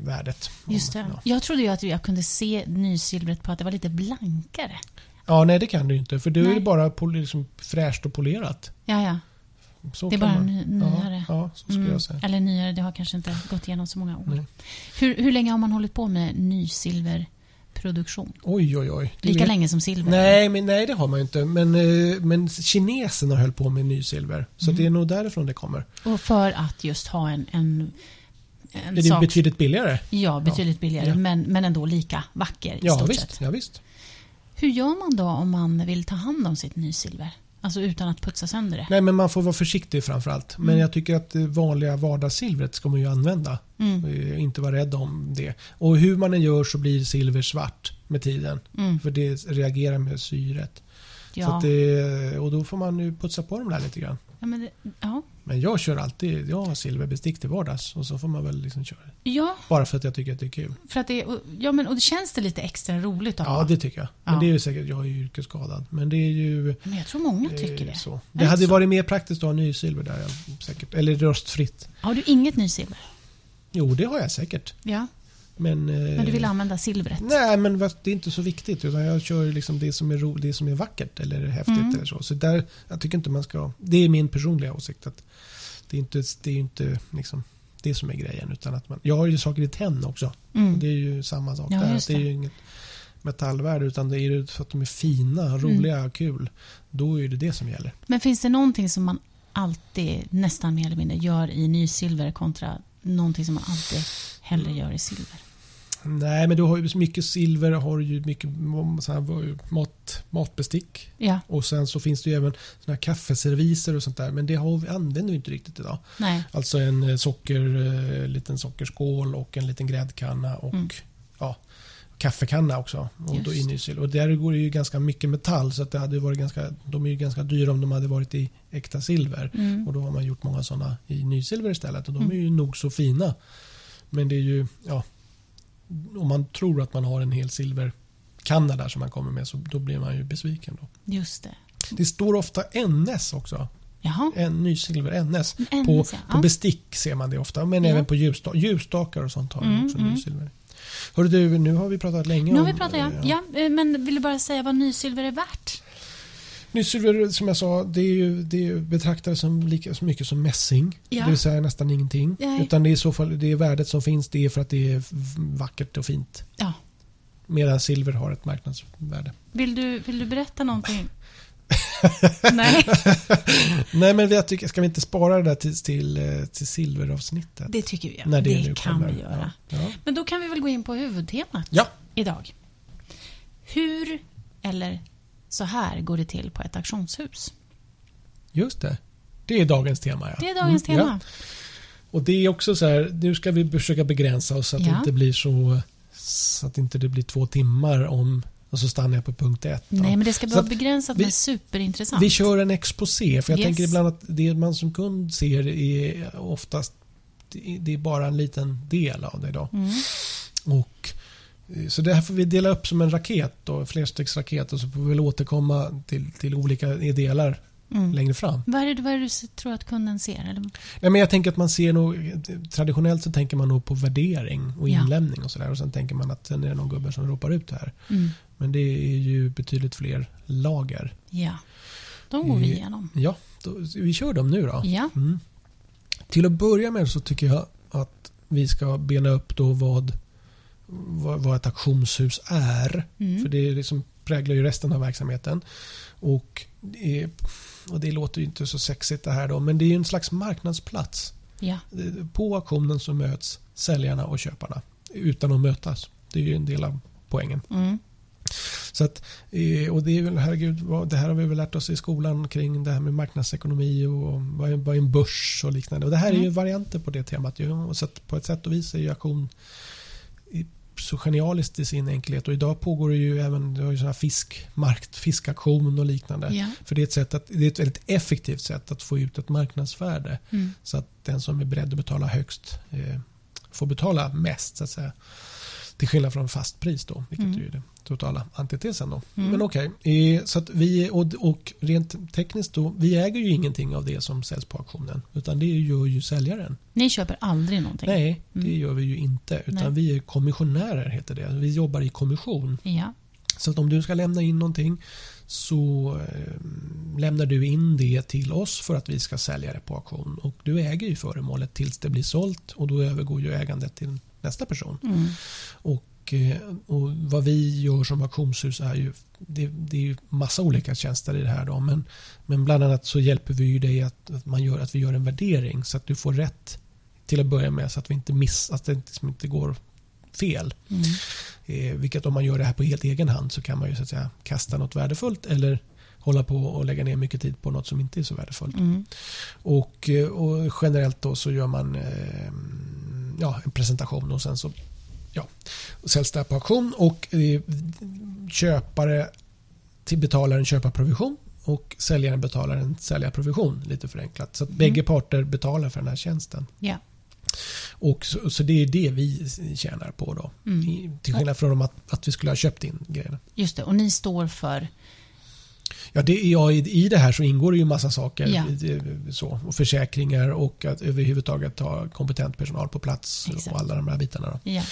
värdet.
Just det.
Ja.
Jag trodde ju att jag kunde se nysilvret på att det var lite blankare.
ja, nej det kan du ju inte för då är
Nej.
det bara pol- liksom, fräscht och polerat.
Ja, ja.
Så
Det är
kan
bara
man.
ny, nyare.
Ja, ja så skulle
Mm.
jag säga.
Eller nyare, det har kanske inte gått igenom så många år.
Nej.
Hur, hur länge har man hållit på med nysilverproduktion?
Oj, oj, oj. Du
Lika
vet-
länge som silver?
Nej, men nej, det har man ju inte. Men, eh, men kineserna höll på med nysilver.
Mm.
Så det är nog därifrån det kommer.
Och för att just ha en, en, en
Det är
sak...
betydligt billigare.
ja, betydligt billigare,
Ja.
Men, men ändå lika vacker i
Ja
stort
visst,
sett.
ja, visst.
Hur gör man då om man vill ta hand om sitt nysilver? Alltså utan att putsa sönder det?
Nej, men man får vara försiktig framförallt. Men jag tycker att det vanliga vardagssilvret ska man ju använda.
Mm.
Eh, Inte vara rädd om det. Och hur man än gör så blir silver svart med tiden.
Mm.
För det reagerar med syret.
Ja.
Så att det, och då får man ju putsa på dem där lite grann.
Ja, men det, ja.
Men jag kör alltid, jag har silverbestick till vardags och så får man väl liksom köra.
ja,
Bara för att jag tycker att det är kul.
för att det, och, ja, men och det känns det lite extra roligt att
Ja,
ha.
det tycker jag.
Ja.
Men det är ju säkert, jag är ju yrkesskadad. Men det är ju...
Men jag tror många
eh,
tycker det.
Så.
det
Det hade
så?
varit mer praktiskt att ha nysilver där, ja, säkert. Eller röstfritt.
Har du inget nysilver?
Jo, det har jag säkert.
Ja,
Men,
men du vill använda silvret?
Eh, Nej, men vad- det är inte så viktigt. Utan jag kör ju liksom det som är, ro, det som är vackert eller häftigt.
Mm.
Eller så. Så där, jag tycker inte man ska... Det är min personliga åsikt. Att det är inte, det, är ju inte liksom det som är grejen. Utan att man, jag har ju saker i tenn också.
Mm.
Det är ju samma sak
Ja,
där.
just
Det. är
det.
ju inget metallvärde utan det är ju för att de är fina, roliga,
Mm.
kul. Då är det det som gäller.
Men finns det någonting som man alltid, nästan mer eller mindre, gör i nysilver kontra någonting som man alltid hellre gör i silver?
Nej, men du har ju mycket silver, har ju mycket så här, mat, matbestick.
Ja,
Och sen så finns det ju även såna här kaffeserviser och sånt där. Men det har vi, använder vi inte riktigt idag.
nej.
Alltså en eh, socker, eh, liten sockerskål och en liten gräddkanna och
Mm.
ja, kaffekanna också. Och då
Just.
in i sylt. Och där går det ju ganska mycket metall så att det hade ju varit ganska, de är ju ganska dyra om de hade varit i äkta silver.
Mm.
Och då har man gjort många sådana i nysilver istället och de
Mm.
är ju nog så fina. Men det är ju, ja, om man tror att man har en hel silverkanna där som man kommer med så då blir man ju besviken. Då.
Just det.
Det står ofta NS också.
Jaha.
En nysilver NS.
En
På,
NS, ja.
på bestick ser man det ofta, men
Ja.
även på ljusstak- ljusstakar och sånt har vi
Mm,
också
mm.
nysilver. Hörru du, nu har vi pratat länge
Nu har
om...
vi pratat, ja.
eh,
ja. eh, Men vill du bara säga vad nysilver är värt?
Nysilver, som jag sa, det, är ju, det är ju betraktas som lika så mycket som mässing.
Ja.
Det vill säga nästan ingenting.
Nej.
Utan det är i så fall det är värdet som finns, det är för att det är vackert och fint.
Ja.
Medan silver har ett marknadsvärde.
Vill du, vill du berätta någonting? nej,
Nej, men jag tycker, ska vi inte spara det där till, till, eh, till silveravsnittet?
det tycker vi.
När
det
nu
kan
kommer.
vi göra.
Ja. Ja.
Men då kan vi väl gå in på huvudtemat
ja,
idag. Hur, eller så här, går det till på ett auktionshus?
just det. Det är dagens tema. Ja.
Det är dagens
Mm, ja.
tema.
Och det är också så här, nu ska vi försöka begränsa oss så att
Ja.
det inte blir så så att inte det blir två timmar om och så stannar jag på punkt ett. då.
Nej, men det ska
Så
vara
att
begränsat
vi-
men superintressant.
Vi kör en exposé för jag
Yes.
tänker ibland att det man som kund ser är oftast det det är bara en liten del av det då.
Mm.
Och, eh, så det här får vi dela upp som en raket då, en flerstegsraket och så får vi väl återkomma till, till olika delar
Mm.
längre fram.
Vad, är det, vad är det du s- tror att kunden ser? Eller?
Nej, men jag tänker att man ser nog, traditionellt så tänker man nog på värdering och
Ja.
inlämning och sådär. Och sen tänker man att sen är det någon gubbe som ropar ut det här.
Mm.
Men det är ju betydligt fler lager.
Ja, de går vi
Eh,
igenom.
Ja, då, vi kör dem nu då.
Ja,
Mm. Till att börja med så tycker jag att vi ska bena upp då vad, vad, vad ett auktionshus är. För
mm.
det är liksom präglar ju resten av verksamheten. Och det, är, och det låter ju inte så sexigt det här då, men det är ju en slags marknadsplats.
ja.
På auktionen så möts säljarna och köparna utan att mötas. Det är ju en del av poängen.
Mm.
Så att, eh, och det, är väl, herregud, vad, det här har vi väl lärt oss i skolan kring det här med marknadsekonomi och vad är, vad är en börs och liknande. Och det här är ju
Mm.
varianter på det temat. Ju. Och så att på ett sätt och vis är ju auktion i- så genialiskt i sin enkelhet. Och idag pågår det ju även det har ju såna här fiskmarkt, fiskaktion och liknande.
ja.
För det är, ett sätt att, det är ett väldigt effektivt sätt att få ut ett marknadsvärde.
Mm.
Så att den som är beredd att betala högst eh, får betala mest så att säga. Till skillnad från fastpris då, vilket
Mm.
är ju det totala antitesen då.
Mm.
Men okej, eh, så att vi och, och rent tekniskt då, vi äger ju ingenting av det som säljs på auktionen. Utan det gör ju säljaren.
Ni köper aldrig någonting?
Nej, det
Mm.
gör vi ju inte. Utan
Nej.
vi är kommissionärer heter det. Vi jobbar i kommission.
Ja.
Så att om du ska lämna in någonting så eh, lämnar du in det till oss för att vi ska sälja det på auktion. Och du äger ju föremålet tills det blir sålt och då övergår ju ägandet till nästa person.
Mm.
Och, eh, och vad vi gör som auktionshus är ju det, det är ju massa olika tjänster i det här då, men, men bland annat så hjälper vi ju dig att, att, man gör, att vi gör en värdering så att du får rätt till att börja med så att, vi inte miss, att det liksom inte går fel.
Mm.
Eh, vilket om man gör det här på helt egen hand så kan man ju så att säga kasta något värdefullt eller hålla på och lägga ner mycket tid på något som inte är så värdefullt.
Mm.
Och, eh, och generellt då så gör man eh, ja, en presentation och sen så ja, och säljs det här på auktion och eh, köpare till betalar en köparprovision och säljaren betalar en säljarprovision lite förenklat. Så att bägge parter betalar för den här tjänsten.
Ja.
Och så, så det är det vi tjänar på då.
Mm.
I, till skillnad från att, att vi skulle ha köpt in grejerna.
Just det, och ni står för...
Ja, det, ja, i, I det här så ingår det ju massa saker.
Ja.
eh, Så, och försäkringar och att överhuvudtaget ha kompetent personal på plats
Exakt.
och alla de här bitarna. Då.
Ja.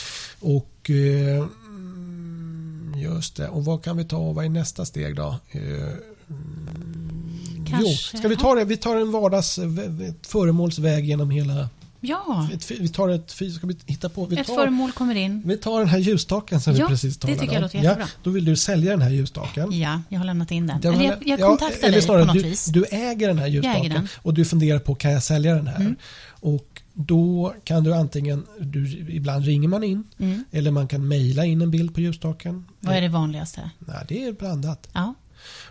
Och eh, mm, just det, och vad kan vi ta? Vad är nästa steg då? Eh, mm,
Kanske-
Jo, ska vi ta det? Vi tar en vardags ett föremålsväg genom hela...
ja.
Ett, fy- vi tar ett fysiskt... Ska vi hitta på? Vi
Ett
tar,
föremål kommer in.
vi tar den här ljusstaken som
Ja,
vi precis
det
talade om.
tycker jag låter jättebra.
Ja, då vill du sälja den här ljusstaken.
Ja, jag har lämnat in den.
Den
Eller
har-
jag, jag
ja,
kontaktar
eller
dig
snarare,
på något
du,
vis.
Du äger den här
Jag äger den. Mm.
ljusstaken och du funderar på kan jag sälja den här? Och då kan du antingen, du, ibland ringer man in
Mm.
eller man kan mejla in en bild på ljusstaken.
Vad är det vanligaste?
Nej, det är blandat.
Ja.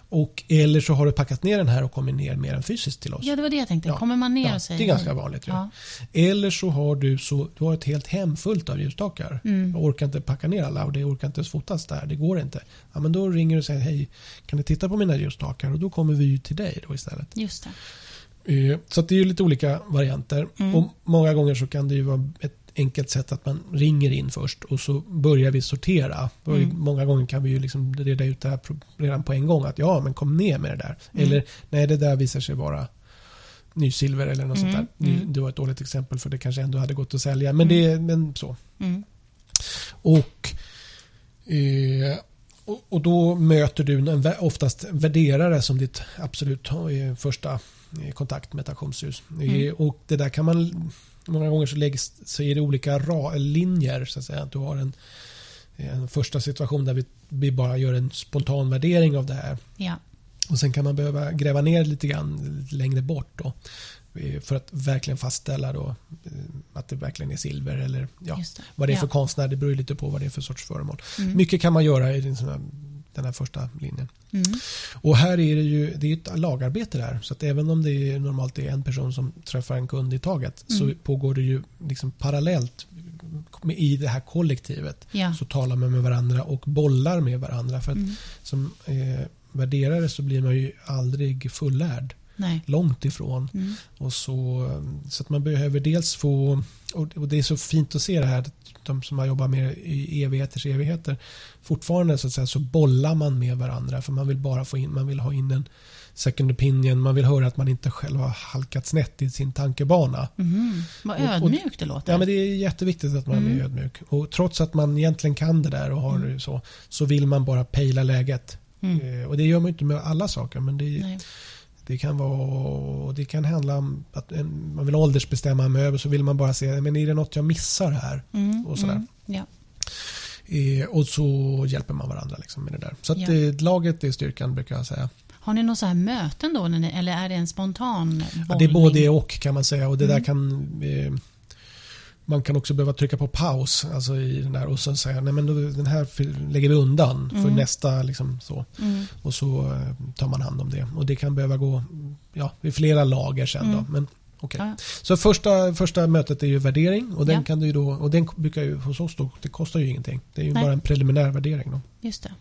Och, eller så har du packat ner den här och kommit ner mer än fysiskt till oss.
ja, det var det jag tänkte.
Ja.
Kommer man ner
Ja,
och säger
det är ganska vanligt. Ja. Eller så har du, så, du har ett helt hem fullt av ljusstakar. Jag orkar inte packa ner alla och det orkar inte ens fotas där. Det går inte. Ja, men då ringer du och säger hej, kan ni titta på mina ljusstakar? Och då kommer vi ju till dig då istället.
Just det.
Eh, Så att det är ju lite olika varianter. Och Många gånger så kan det ju vara ett enkelt sätt att man ringer in först och så börjar vi sortera. Och Många gånger kan vi ju liksom reda ut det här pro- redan på en gång. Att ja, men kom ner med det där. Eller nej, det där visar sig vara nysilver eller något sånt där. Nu- Det var ett dåligt exempel för det kanske ändå hade gått att sälja. Men, det, men så.
Mm.
Och, eh, och, och då möter du en, vä- oftast en värderare som ditt absolut eh, första eh, kontakt med ett auktionshus. Eh, Och det där kan man... Många gånger så, läggs, så är det olika ra, linjer. Så att säga. Att Du har en, eh, en första situation där vi, vi bara gör en spontan värdering av det här.
Ja.
Och Sen kan man behöva gräva ner lite grann lite längre bort då, eh, för att verkligen fastställa då, eh, att det verkligen är silver eller ja,
Just det.
vad det är
Ja.
för konstnär. Det beror ju lite på vad det är för sorts föremål.
Mm.
Mycket kan man göra i den, sån här, den här första linjen.
Mm.
Och här är det ju det är ett lagarbete där. Så att även om det är, normalt är en person som träffar en kund i taget
Mm.
så pågår det ju liksom parallellt med- i det här kollektivet.
Ja.
Så talar man med varandra och bollar med varandra. För att
Mm.
som eh, värderare så blir man ju aldrig fullärd.
Nej.
Långt ifrån.
Mm.
Och så, så att man behöver dels få, och och det är så fint att se det här, att de som har jobbat med det i evigheters evigheter, fortfarande så, att säga, så bollar man med varandra för man vill bara få in, man vill ha in en second opinion, man vill höra att man inte själv har halkat snett i sin tankebana.
Mhm. Vad
Och- och-
ödmjukt det låter.
Ja, men det är jätteviktigt att man
Mm.
är ödmjuk. Och trots att man egentligen kan det där och har det så, så vill man bara pejla läget.
Mm.
Eh, Och det gör man ju inte med alla saker, men det,
Nej.
det kan, vara, det kan handla om att en- man vill åldersbestämma en möbel så vill man bara se, men är det något jag missar här?
Mm.
och sådär.
Mm. Ja.
Eh, och så hjälper man varandra liksom med det där. Så att
Ja.
det, laget är styrkan brukar jag säga.
Har ni några så här möten då? När ni, eller är det en spontan
Ja, det är
bollning?
både och kan man säga och det där kan eh, man kan också behöva trycka på paus alltså i den där och sen säga nej men då, den här f- lägger vi undan för nästa liksom så.
Mm.
Och så eh, tar man hand om det. Och det kan behöva gå ja, i flera lager sen då. Men, okej.
Ja, ja.
Så första, första mötet är ju värdering och den,
Ja.
kan du ju då, och den brukar ju hos oss då, det kostar ju ingenting. Det är ju
Nej.
bara en preliminär värdering. Då.
Just det.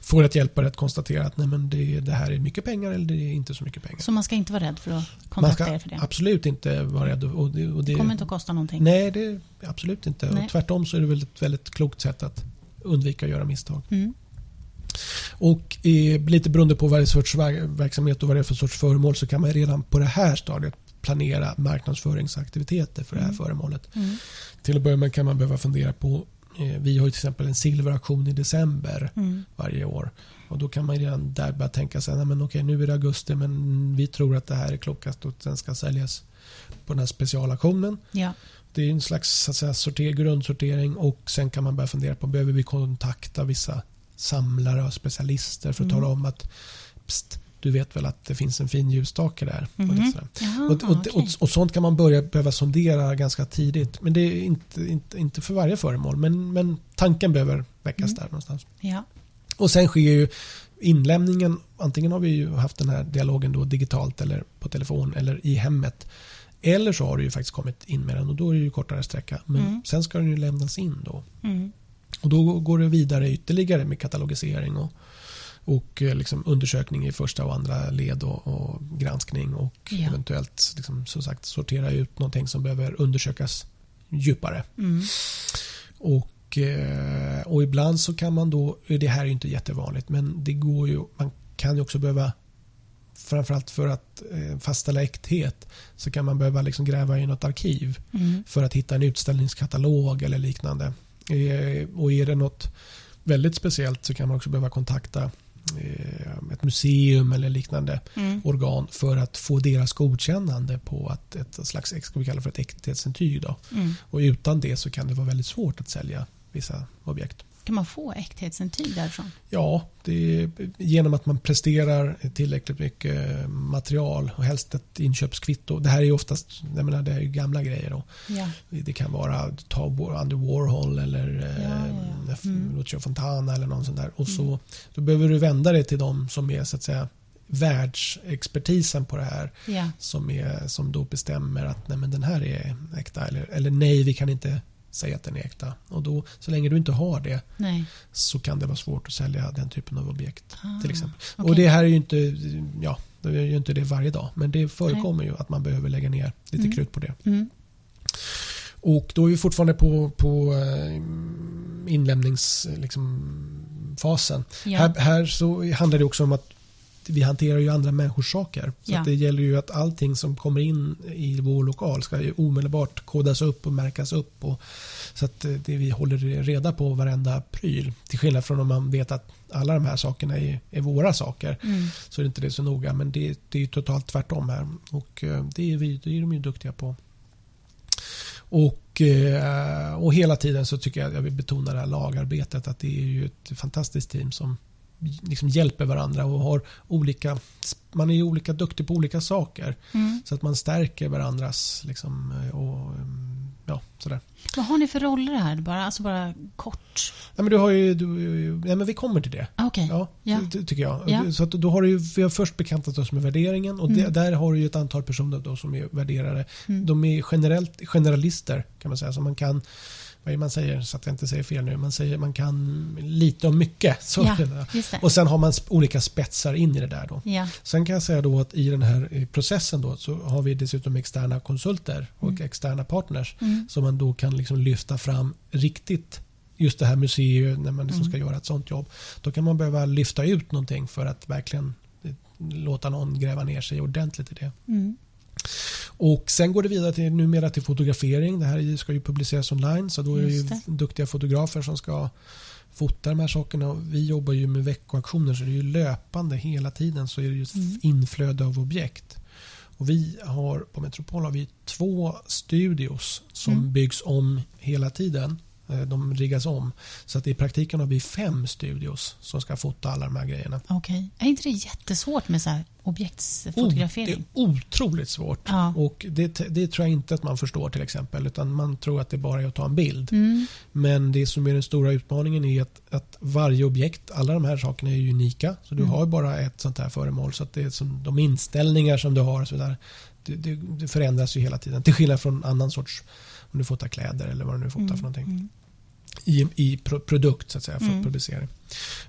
För att hjälpa dig att konstatera att nej, men det, det här är mycket pengar eller det är inte så mycket pengar.
Så man ska inte vara rädd för att
Man
kontakta er
ska
för det?
absolut inte vara rädd. Och det, och det,
Det kommer inte att kosta någonting?
nej, det är absolut inte.
Nej.
Och tvärtom så är det väl ett väldigt klokt sätt att undvika att göra misstag.
Mm.
Och eh, lite beroende på vad det är för sorts ver- verksamhet och vad det är för sorts föremål så kan man redan på det här stadiet planera marknadsföringsaktiviteter för det här föremålet.
Mm.
Till att börja med kan man behöva fundera på eh, vi har ju till exempel en silveraktion i december
Mm.
varje år. Och Då kan man redan där börja tänka sig att okej nu är det augusti men vi tror att det här är klokast och den ska säljas på den här specialaktionen.
Ja.
Det är en slags så att säga, sorter, grundsortering och sen kan man börja fundera på behöver vi kontakta vissa samlare och specialister för att
Mm.
tala om att pst, du vet väl att det finns en fin ljusstake där.
Mhm.
Och, lite sådär.
Jaha,
och, och,
okej.
och, och sånt kan man börja behöva sondera ganska tidigt. Men det är inte, inte, inte för varje föremål men, men tanken behöver
Mm.
väckas där någonstans.
ja.
Och sen sker ju inlämningen, antingen har vi ju haft den här dialogen då digitalt eller på telefon eller i hemmet. Eller så har du ju faktiskt kommit in med den och då är det ju kortare sträcka. Men
Mm.
sen ska den ju lämnas in då.
Mm.
Och då går det vidare ytterligare med katalogisering och, Och eh, liksom undersökning i första och andra led och, och granskning och
Ja.
eventuellt liksom, som sagt, sortera ut någonting som behöver undersökas djupare.
Mm.
Och, eh, och ibland så kan man då, det här är ju inte jättevanligt, men det går ju, man kan ju också behöva framförallt för att eh, fastställa äkthet så kan man behöva liksom gräva i något arkiv
Mm.
för att hitta en utställningskatalog eller liknande. Eh, Och är det något väldigt speciellt så kan man också behöva kontakta eh, ett museum eller liknande
Mm.
organ för att få deras godkännande på att ett slags ska vi kalla för ett äkthetsintyg. Då.
Mm.
Och utan det så kan det vara väldigt svårt att sälja vissa objekt.
Kan man få äkthetsintyg därifrån?
Ja, det är genom att man presterar tillräckligt mycket material och helst ett inköpskvitto. Det här är ju oftast jag menar, det är ju gamla grejer. Då.
Ja.
Det kan vara ta Andy Warhol eller
Ja, ja, ja.
eh,
Mm.
Lucio Fontana eller någon sån där. Och så, då behöver du vända dig till de som är så att säga världsexpertisen på det här
ja.
som, är, som då bestämmer att nej, men den här är äkta eller, eller nej, vi kan inte säga att den är äkta. Och då, så länge du inte har det
Nej.
så kan det vara svårt att sälja den typen av objekt.
Ah,
till exempel.
okej.
Och det här är ju inte, ja, det är ju inte det varje dag men det förekommer ju att man behöver lägga ner lite
Mm.
krut på det.
Mm.
Och då är vi fortfarande på, på eh, inlämningsfasen. Liksom, fasen.
Ja.
Här, här så handlar det också om att vi hanterar ju andra människors saker. Så
Ja.
att det gäller ju att allting som kommer in i vår lokal ska ju omedelbart kodas upp och märkas upp. Och, så att eh, det, vi håller reda på varenda pryl. Till skillnad från om man vet att alla de här sakerna är, är våra saker.
Mm.
Så är det inte det så noga. Men det, det är ju totalt tvärtom här. Och eh, det är, vi, det är de ju duktiga på. Och, eh, och hela tiden så tycker jag, jag vill betona det här lagarbetet. Att det är ju ett fantastiskt team som liksom hjälper varandra och har olika, man är ju olika duktig på olika saker.
Mm.
Så att man stärker varandras liksom, eh, och mm, ja, sådär.
Vad har ni för roller här? Bara, alltså bara kort.
Nej, men du har ju, du, nej, men vi kommer till det.
Ah, Okej.
Ja,
Ja.
det tycker jag.
Ja.
Så att då har du ju, vi har först bekantat oss med värderingen och det, där har du ju ett antal personer då som är värderare.
Mm.
De är generellt, generalister kan man säga. Så man kan, vad är det man säger så att jag inte säger fel nu, man säger man kan lite om mycket. Så
Ja, just det.
Och sen har man sp- olika spetsar in i det där då.
Ja.
Sen kan jag säga då att i den här eh, processen då så har vi dessutom externa konsulter och externa partners
Mm.
som man då kan liksom lyfta fram riktigt just det här museet när man liksom ska göra ett sånt jobb. Då kan man behöva lyfta ut någonting för att verkligen eh, låta någon gräva ner sig ordentligt i det.
Mm.
Och Sen går det vidare till, numera till fotografering. Det här ska ju publiceras online så då är det ju
Just det.
duktiga fotografer som ska fota de här sakerna. Och vi jobbar ju med veckoaktioner så det är ju löpande hela tiden så är det ju ett
Mm.
inflöde av objekt. Och vi har på Metropol har vi två studios som
Mm.
byggs om hela tiden. Eh, De riggas om. Så att i praktiken har vi fem studios som ska fota alla de här grejerna.
Okej. Är inte det jättesvårt med så här
Oh,
objektsfotografering?
det är otroligt svårt.
Ja.
Och det, det tror jag inte att man förstår till exempel. Utan man tror att det bara är att ta en bild.
Mm.
Men det som är den stora utmaningen är att, att varje objekt, alla de här sakerna är ju unika. Så du
Mm.
har ju bara ett sånt här föremål. Så att det är som de inställningar som du har och så där, det, det, det förändras ju hela tiden. Till skillnad från annan sorts, om du fotar kläder eller vad du nu fotar för någonting
Mm.
i, i pro, produkt så att säga, för
Mm.
publicering.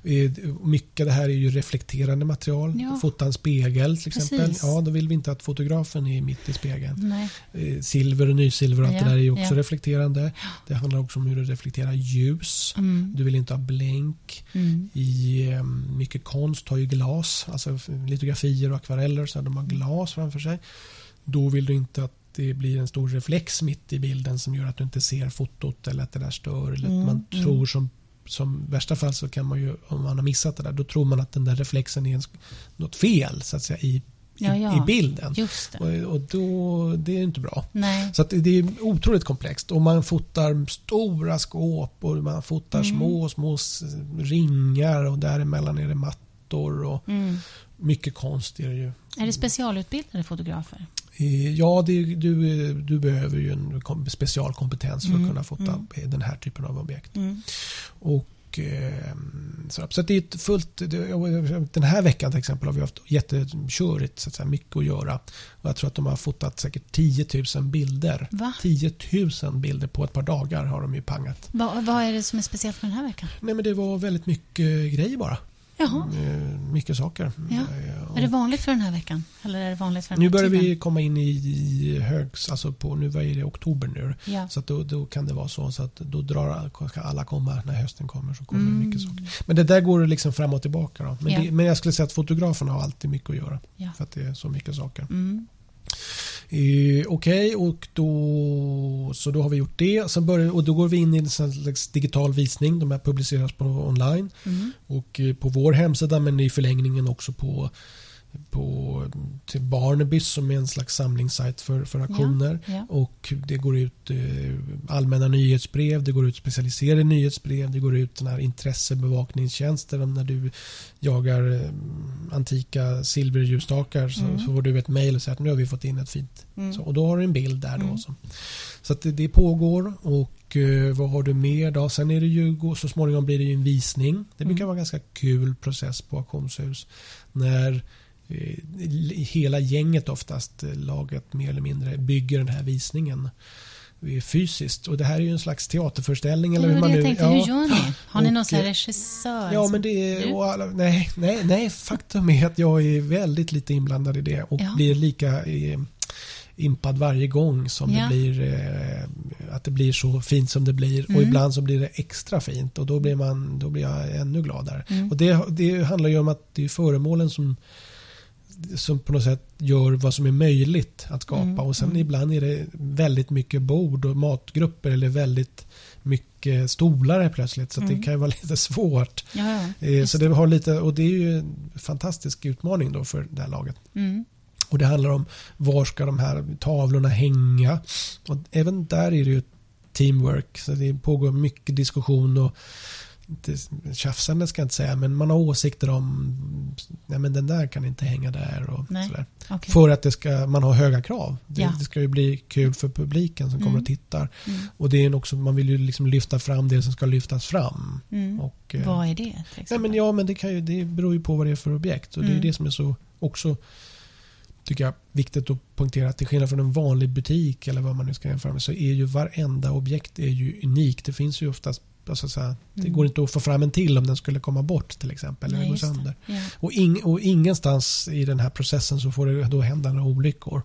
Eh, Mycket av det här är ju reflekterande material.
Ja.
Fota en spegel till exempel.
Precis.
Ja, då vill vi inte att fotografen är mitt i spegeln.
Nej.
Eh, Silver och nysilver och allt
Ja,
det där är ju också
ja.
reflekterande. Det handlar också om hur du reflekterar ljus.
Mm.
Du vill inte ha blänk.
Mm.
I eh, mycket konst har ju glas, alltså f- litografier och akvareller, så här, de har glas framför sig. Då vill du inte att det blir en stor reflex mitt i bilden som gör att du inte ser fotot eller att det där stör. Eller
Mm,
att man
mm.
tror som som värsta fall så kan man ju, om man har missat det där, då tror man att den där reflexen är en, sk- något fel så att säga i,
Ja,
i,
ja.
i bilden.
Just det.
Och, och då, det är inte bra.
Nej.
Så att det- det är otroligt komplext. Och man fotar stora skåp och man fotar små, små s- ringar och däremellan är det mattor och
Mm.
mycket konst är det ju.
Är det specialutbildade fotografer?
Eh, Ja, det, är- du, eh, du behöver ju en kom- specialkompetens för att kunna fota eh, den här typen av objekt.
Mm.
Och, eh, så så att det är ett fullt... det- och, eh, Den här veckan till exempel har vi haft jättekörigt, så att säga, mycket att göra. Och jag tror att de har fotat säkert 10 000 bilder.
Va?
10 000 bilder på ett par dagar har de ju pangat.
Va, vad är det som är speciellt med den här veckan?
Nej men det var väldigt mycket eh, grejer bara.
Jaha.
eh, mycket saker.
Ja.
Eh,
Är det vanligt för den här veckan? Eller är det vanligt för den
Nu
här
börjar vi
tiden?
komma in i- i högs, alltså på, nu är det oktober nu.
Ja.
Så att då, då kan det vara så, så att då drar ska alla komma när hösten kommer. Så kommer det
Mm.
mycket saker. Men det där går liksom fram och tillbaka. Då. Men,
Ja.
det, men jag skulle säga att fotograferna har alltid mycket att göra.
Ja.
För att det är så mycket saker.
Mm.
Eh, Okej, och då, så då har vi gjort det. Sen börjar, och då går vi in i en sån slags digital visning. De här publiceras på online
Mm.
och eh, på vår hemsida men i förlängningen också på, på till Barnabys som är en slags samlingssajt för, för auktioner.
Ja.
Och det går ut eh, allmänna nyhetsbrev, det går ut specialiserade nyhetsbrev, det går ut den här intressebevakningstjänster om när du jagar eh, antika silverljusstakar så,
Mm.
så får du ett mejl och säger att nu har vi fått in ett fint.
Mm.
Så, och då har du en bild där då.
Mm.
Så, så att det, det pågår och eh, vad har du mer då? Sen är det ju, gå- så småningom blir det ju en visning. Det brukar
Mm.
vara en ganska kul process på auktionshus. När eh, hela gänget oftast, eh, laget mer eller mindre, bygger den här visningen eh, fysiskt. Och det här är ju en slags teaterföreställning.
Det
eller
var det
hur man
jag
nu,
tänkte.
ja.
Hur gör ni? Har ni någon
Och,
sån här
eh,
regissör?
Ja,
som-
men det
Du?
är... Och alla, nej, nej, nej, faktum är att jag är väldigt lite inblandad i det och
Ja.
blir lika eh, impad varje gång som
Ja.
det blir eh, att det blir så fint som det blir och
Mm.
ibland så blir det extra fint och då blir, man, då blir jag ännu gladare.
Mm.
Och det, det handlar ju om att det är föremålen som som på något sätt gör vad som är möjligt att skapa.
Mm,
Och sen
mm.
ibland är det väldigt mycket bord och matgrupper eller väldigt mycket stolar helt plötsligt. Så att
Mm.
det kan ju vara lite svårt.
Ja, ja.
Eh,
Just
Så det, har lite, och det är ju en fantastisk utmaning då för det här laget.
Mm.
Och det handlar om var ska de här tavlorna hänga. Och även där är det ju teamwork. Så det pågår mycket diskussion och inte tjafsande ska jag inte säga men man har åsikter om nej men den där kan inte hänga där och
Nej.
sådär.
Okej.
För att det ska, man har höga krav. Det,
Ja.
det ska ju bli kul för publiken som kommer
Mm.
och tittar.
Mm.
Och det är en också, man vill ju liksom lyfta fram det som ska lyftas fram.
Mm.
Och, eh,
Vad är det? Till
Nej, men
exempel?
ja, men det, kan ju, det beror ju på vad det är för objekt. Och Det är ju
Mm.
det som är så också tycker jag viktigt att poängtera. att Till skillnad från en vanlig butik eller vad man nu ska jämföra med så är ju varenda objekt är ju unikt. Det finns ju oftast alltså, så här, Det
Mm.
går inte att få fram en till om den skulle komma bort till exempel. Eller
Nej,
gå
just det.
sönder.
Ja.
Och, ing, och ingenstans i den här processen så får det då hända några olyckor.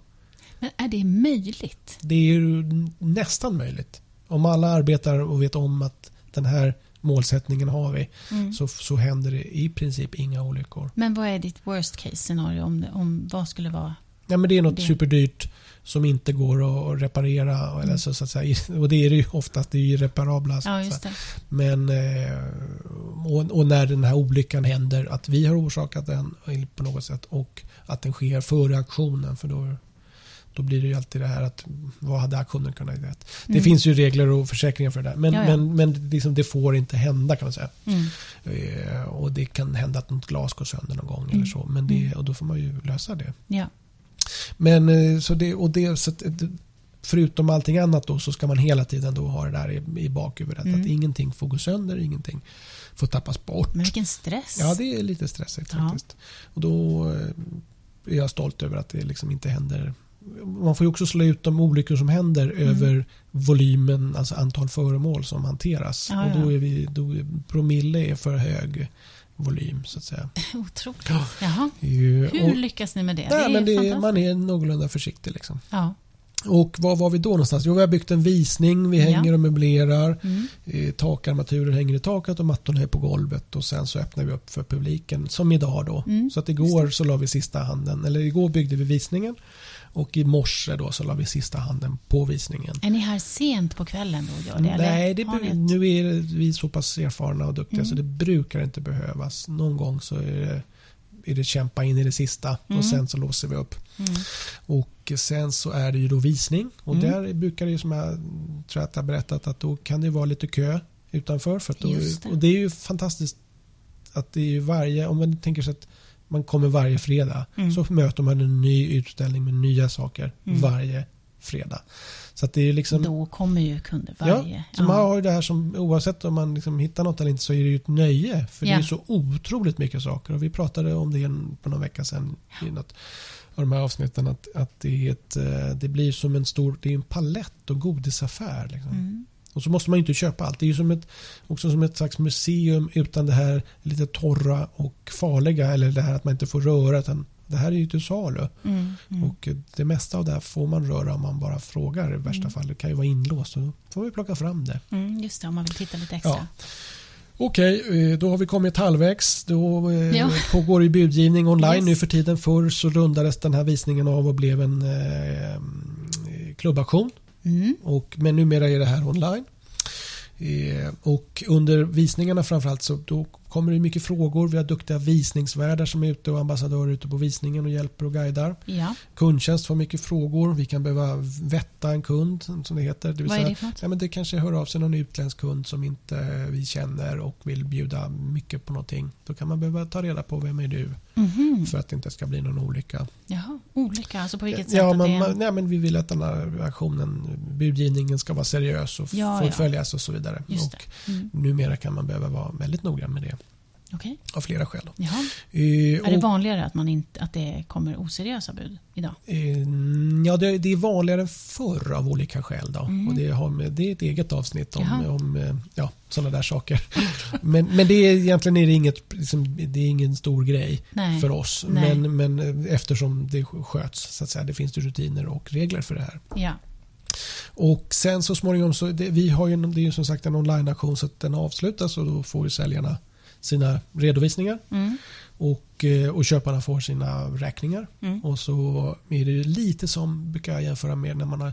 Men är det möjligt?
Det är ju nästan möjligt. Om alla arbetar och vet om att den här målsättningen har vi
Mm.
så, så händer det i princip inga olyckor.
Men vad är ditt worst case scenario? Om, om vad skulle vara...
Ja, men det är något
Det-
superdyrt som inte går att reparera. och- Eller
Mm.
så, så att säga. Och det är det ju oftast, det är ju irreparabla. så
Ja,
att
just
säga.
det.
Men, eh, och, och när den här olyckan händer, att vi har orsakat den på något sätt och att den sker före aktionen. För då, då blir det ju alltid det här att vad hade aktionen kunnat göra? Det
Mm.
finns ju regler och försäkringar för det där. Men,
Ja, ja.
men, men liksom, det får inte hända kan man säga.
Mm.
Eh, och det kan hända att något glas går sönder någon gång eller
Mm.
så. Men det,
Mm.
och då får man ju lösa det.
Ja.
Men eh, så det, och det, så att, eh, förutom allting annat då så ska man hela tiden då ha det där i, i bakhuvudet.
Mm.
Att ingenting får gå sönder, ingenting får tappas bort.
Men vilken stress.
Ja, det är lite stressigt
Ja.
faktiskt. Och då eh, är jag stolt över att det liksom inte händer. Man får ju också slå ut de olyckor som händer
Mm.
över volymen, alltså antal föremål som hanteras.
Ja,
och då
ja.
är vi, då är, promille är för hög volym så att säga.
Otroligt.
Ja.
Jaha.
Eh,
Hur
och,
lyckas ni med det?
nej, men det är,
fantastiskt.
man är någorlunda försiktig liksom.
Ja.
Och var var vi då någonstans? Jo, vi har byggt en visning, vi
Ja.
hänger och möblerar.
Mm.
Eh, Takarmaturer hänger i taket och mattorna är på golvet och sen så öppnar vi upp för publiken som idag då.
Mm,
Så att igår så la vi sista handen, eller igår byggde vi visningen och i morse då så la vi sista handen på visningen.
Är ni här sent på kvällen då och gör det? eller
Nej, det,
har ni
bru-
ett-
nu är det- vi så pass erfarna och duktiga
Mm.
så det brukar inte behövas. Någon gång så är det, är det kämpa in i det sista
Mm.
och sen så låser vi upp.
Mm.
Och sen så är det ju då visning och
Mm.
där brukar det ju som jag tror att jag har berättat att då kan det vara lite kö utanför. För att då,
Just det.
Och det är ju fantastiskt att det är ju varje, om man tänker sig att man kommer varje fredag
Mm.
så möter man en ny utställning med nya saker
Mm.
varje fredag. Så att det är ju liksom
Då kommer ju kunder
Ja,
varje.
så man har ju det här som oavsett om man liksom hittar något eller inte så är det ju ett nöje. För det
Ja.
är ju så otroligt mycket saker. Och vi pratade om det en- på någon vecka sedan i något av de här avsnitten. Att, att det, är ett, eh, det blir som en stor, det är en palett och godisaffär. Liksom.
Mm.
Och så måste man ju inte köpa allt. Det är ju som ett, också som ett slags museum utan det här lite torra och farliga. Eller det här att man inte får röra. Utan det här är ju till salu.
Mm, mm.
Och det mesta av det här får man röra om man bara frågar i värsta fall. Det kan ju vara inlåst. Så då får vi plocka fram det.
Mm, just det, om man vill titta lite extra.
Okej, eh, då har vi kommit halvvägs. Då eh,
Ja.
pågår ju budgivning online
Yes.
nu för tiden. Förr så rundades den här visningen av och blev en eh, eh, klubbaktion.
Mm.
Och, men numera är det här online. Eh, och under visningarna framförallt så då kommer det mycket frågor. Vi har duktiga visningsvärdar som är ute och ambassadörer ute på visningen och hjälper och guidar.
Ja,
Kundtjänst får mycket frågor. Vi kan behöva vätta en kund som det heter. Det vill
vad är
säga,
det för något?
Ja, men det kanske hör av sig någon utländsk kund som inte vi känner och vill bjuda mycket på någonting. Då kan man behöva ta reda på vem är du
Mhm.
för att det inte ska bli någon olycka.
Jaha, olika. Alltså på vilket sätt?
Ja,
att det
man,
är en-
man, nej, men vi vill att den här aktionen, budgivningen ska vara seriös och
Ja, ja.
fullföljas och så vidare.
Just
Och
det. Mm.
numera kan man behöva vara väldigt noggrann med det
Okej.
av flera skäl.
Jaha.
Eh,
Är det
och-
vanligare att, man inte, att det kommer oseriösa bud idag?
Eh, Ja, det, det är vanligare än förr av olika skäl. Då.
Mm.
Och det, har med, det är ett eget avsnitt om,
Jaha.
om eh, ja, sådana där saker. men men det är, egentligen är det, inget, liksom, det är ingen stor grej
Nej.
för oss.
Nej.
Men, men eh, eftersom det sköts, så att säga, det finns ju rutiner och regler för det här.
Ja.
Och sen så småningom, så det, vi har ju, en- det är ju som sagt en online-auktion så att den avslutas och då får ju säljarna sina redovisningar
Mm.
och, eh, och köparna får sina räkningar.
Mm.
Och så är det ju lite som brukar jag jämföra med när man har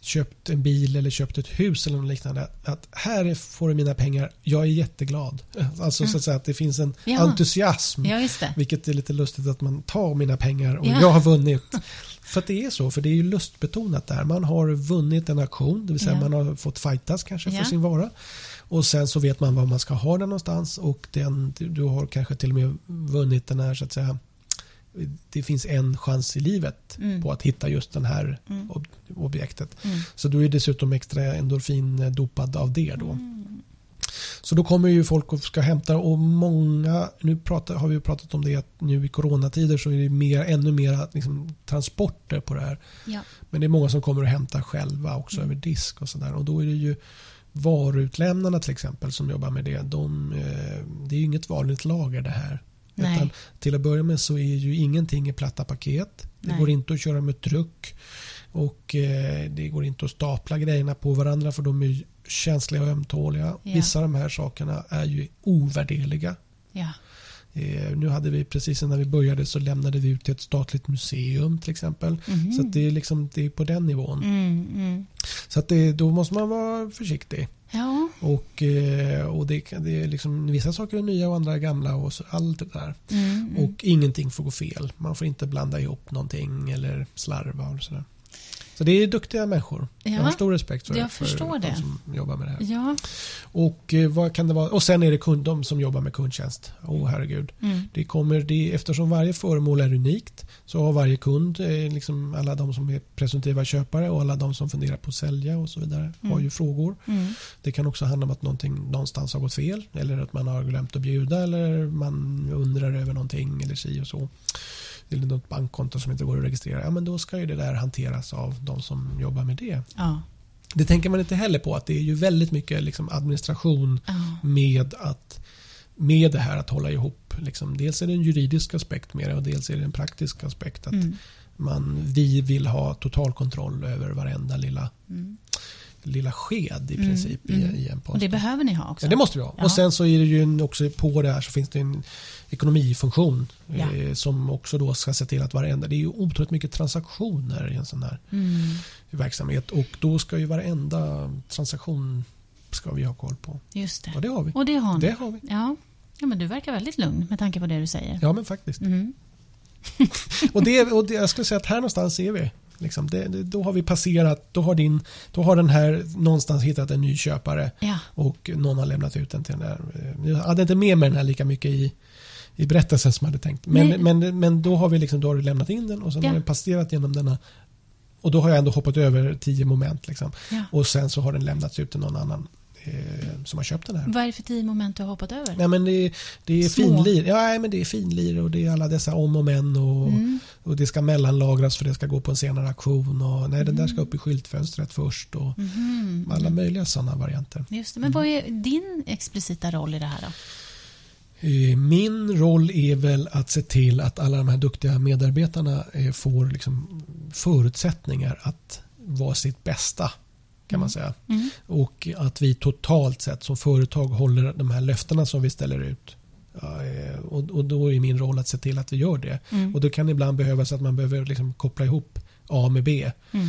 köpt en bil eller köpt ett hus eller något liknande. Att här är- får du mina pengar, jag är jätteglad. Alltså så att säga att det finns en
Mm. Ja.
entusiasm.
ja, just det.
Vilket är lite lustigt att man tar mina pengar och
Ja.
jag har vunnit. För att det är så, för det är ju lustbetonat där. Man har vunnit en auktion, det vill säga
Ja.
man har fått fightas kanske
Ja.
för sin vara. Och sen så vet man var man ska ha den någonstans och den, du- du har kanske till och med vunnit den här så att säga. Det finns en chans i livet
Mm.
på att hitta just den här
Mm.
ob- objektet.
Mm.
Så du är dessutom extra endorfindopad av det då.
Mm.
Så då kommer ju folk och ska hämta och många, nu pratar, har vi ju pratat om det att nu i coronatider så är det mer, ännu mer liksom, transporter på det här.
Ja.
Men det är många som kommer och hämtar själva också
Mm.
över disk och sådär. Och då är det ju varutlämnarna till exempel som jobbar med det. De, eh, det är ju inget vanligt lager det här. Utan
Nej.
till att börja med så är ju ingenting i platta paket. Det
Nej.
går inte att köra med truck. Och eh, det går inte att stapla grejerna på varandra för de är ju känsliga och ömtåliga.
Ja.
Vissa av de här sakerna är ju ovärderliga.
Ja.
Eh, nu hade vi precis innan vi började så lämnade vi ut till ett statligt museum till exempel.
Mhm.
Så att det, är liksom, det är på den nivån.
Mm, mm.
Så att det, då måste man vara försiktig.
Ja.
Och, eh, och det, kan- det är liksom, vissa saker är nya och andra är gamla. och så, Allt det där.
Mm, mm.
Och ingenting får gå fel. Man får inte blanda ihop någonting eller slarva. Och sådär. Så det är duktiga människor. Jag har
ja.
stor respekt för,
jag
för
förstår
de
det.
som jobbar med det här.
Ja.
Och, eh, vad kan det vara? och sen är det kund, de som jobbar med kundtjänst. Åh herregud.
Mm.
Det kommer, det, eftersom varje föremål är unikt så har varje kund, eh, liksom alla de som är presumtiva köpare och alla de som funderar på att sälja och så vidare har
Mm.
ju frågor.
Mm.
Det kan också handla om att någonting någonstans har gått fel eller att man har glömt att bjuda eller man undrar över någonting eller si och så. Eller något bankkonto som inte går att registrera. Ja, men då ska ju det där hanteras av de som jobbar med det.
Ja.
Det tänker man inte heller på att det är ju väldigt mycket liksom administration
Ja.
med att med det här att hålla ihop. Liksom, dels är det en juridisk aspekt med det och dels är det en praktisk aspekt. att
Mm.
man, Vi vill ha total kontroll över varenda lilla,
Mm.
lilla sked i
Mm,
princip
mm.
i, i en post.
Och det behöver ni ha också?
Ja, det måste vi ha.
Ja.
Och sen så är det ju en- också på det här så finns det en ekonomifunktion
Ja.
eh, som också då ska se till att varenda... Det är ju otroligt mycket transaktioner i en sån här
mm.
verksamhet och då ska ju varenda transaktion ska vi ha koll på.
Just
Och
det.
det har vi.
Och det har ni?
Det har vi.
Ja. ja, men du verkar väldigt lugn med tanke på det du säger.
Ja men faktiskt.
Mm.
Och, det, och det, jag skulle säga att här någonstans är vi. Liksom det, det, då har vi passerat, då har, din, då har den här någonstans hittat en ny köpare
Ja.
och någon har lämnat ut den till den där. eh, Jag hade inte med mig den här lika mycket i, i berättelsen som jag hade tänkt.
Nej.
Men, men, men då har vi liksom, då har du lämnat in den och sen
Ja.
har den passerat genom denna. Och då har jag ändå hoppat över tio moment. Liksom.
ja.
Och sen så har den lämnats ut till någon annan. Eh, eh, som har köpt den här.
Vad är det för tio moment du har hoppat över?
Nej, men det, är- det är
Mm. Små.
finlir. Ja, nej, men det är finlir och det är alla dessa om och men och,
Mm.
och det ska mellanlagras för det ska gå på en senare auktion och nej, den
Mm.
där ska upp i skyltfönstret först och
Mhm.
alla möjliga sådana varianter.
Just det. Men vad är din explicita roll i det här då?
Eh, Min roll är väl att se till att alla de här duktiga medarbetarna eh, får liksom förutsättningar att vara sitt bästa kan man säga.
Mm.
Och att vi totalt sett som företag håller de här löftena som vi ställer ut. Ja, eh, Och, och då är min roll att se till att vi gör det.
Mm.
Och då kan det ibland behövas att man behöver liksom koppla ihop A med B
Mm.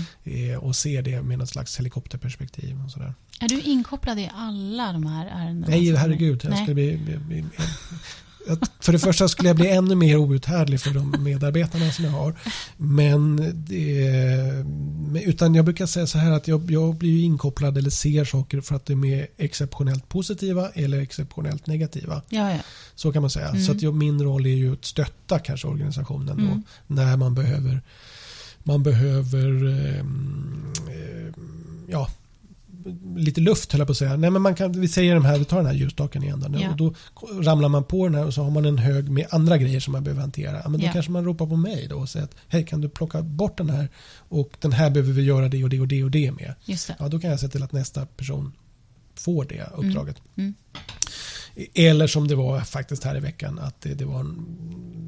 eh, och se det med något slags helikopterperspektiv. Och sådär.
Är du inkopplad i alla de här ärendena?
Nej,
som-
herregud.
alltså,
Jag
Nej.
skulle bli, bli, bli, att- för det första skulle jag bli ännu mer outhärdlig för de medarbetarna som jag har. Men det, men- utan jag brukar säga så här att jag, jag blir ju inkopplad eller ser saker för att de är exceptionellt positiva eller exceptionellt negativa.
Ja, ja.
Så kan man säga.
Mm.
Så att jag, min roll är ju att stötta kanske organisationen
Mm.
då, när man behöver, man behöver ehm, ehm, ja, lite luft höll jag på att säga. Nej, men man kan, vi säger de här, vi tar den här ljusstaken igen. Då,
Ja.
och då ramlar man på den här och så har man en hög med andra grejer som man behöver hantera. Ja, men då
Ja.
kanske man ropar på mig då och säger att hej kan du plocka bort den här och den här behöver vi göra det och det och det och det med.
Just det.
Ja, då kan jag se till att nästa person får det uppdraget.
Mm.
Eller som det var faktiskt här i veckan att det, det var en,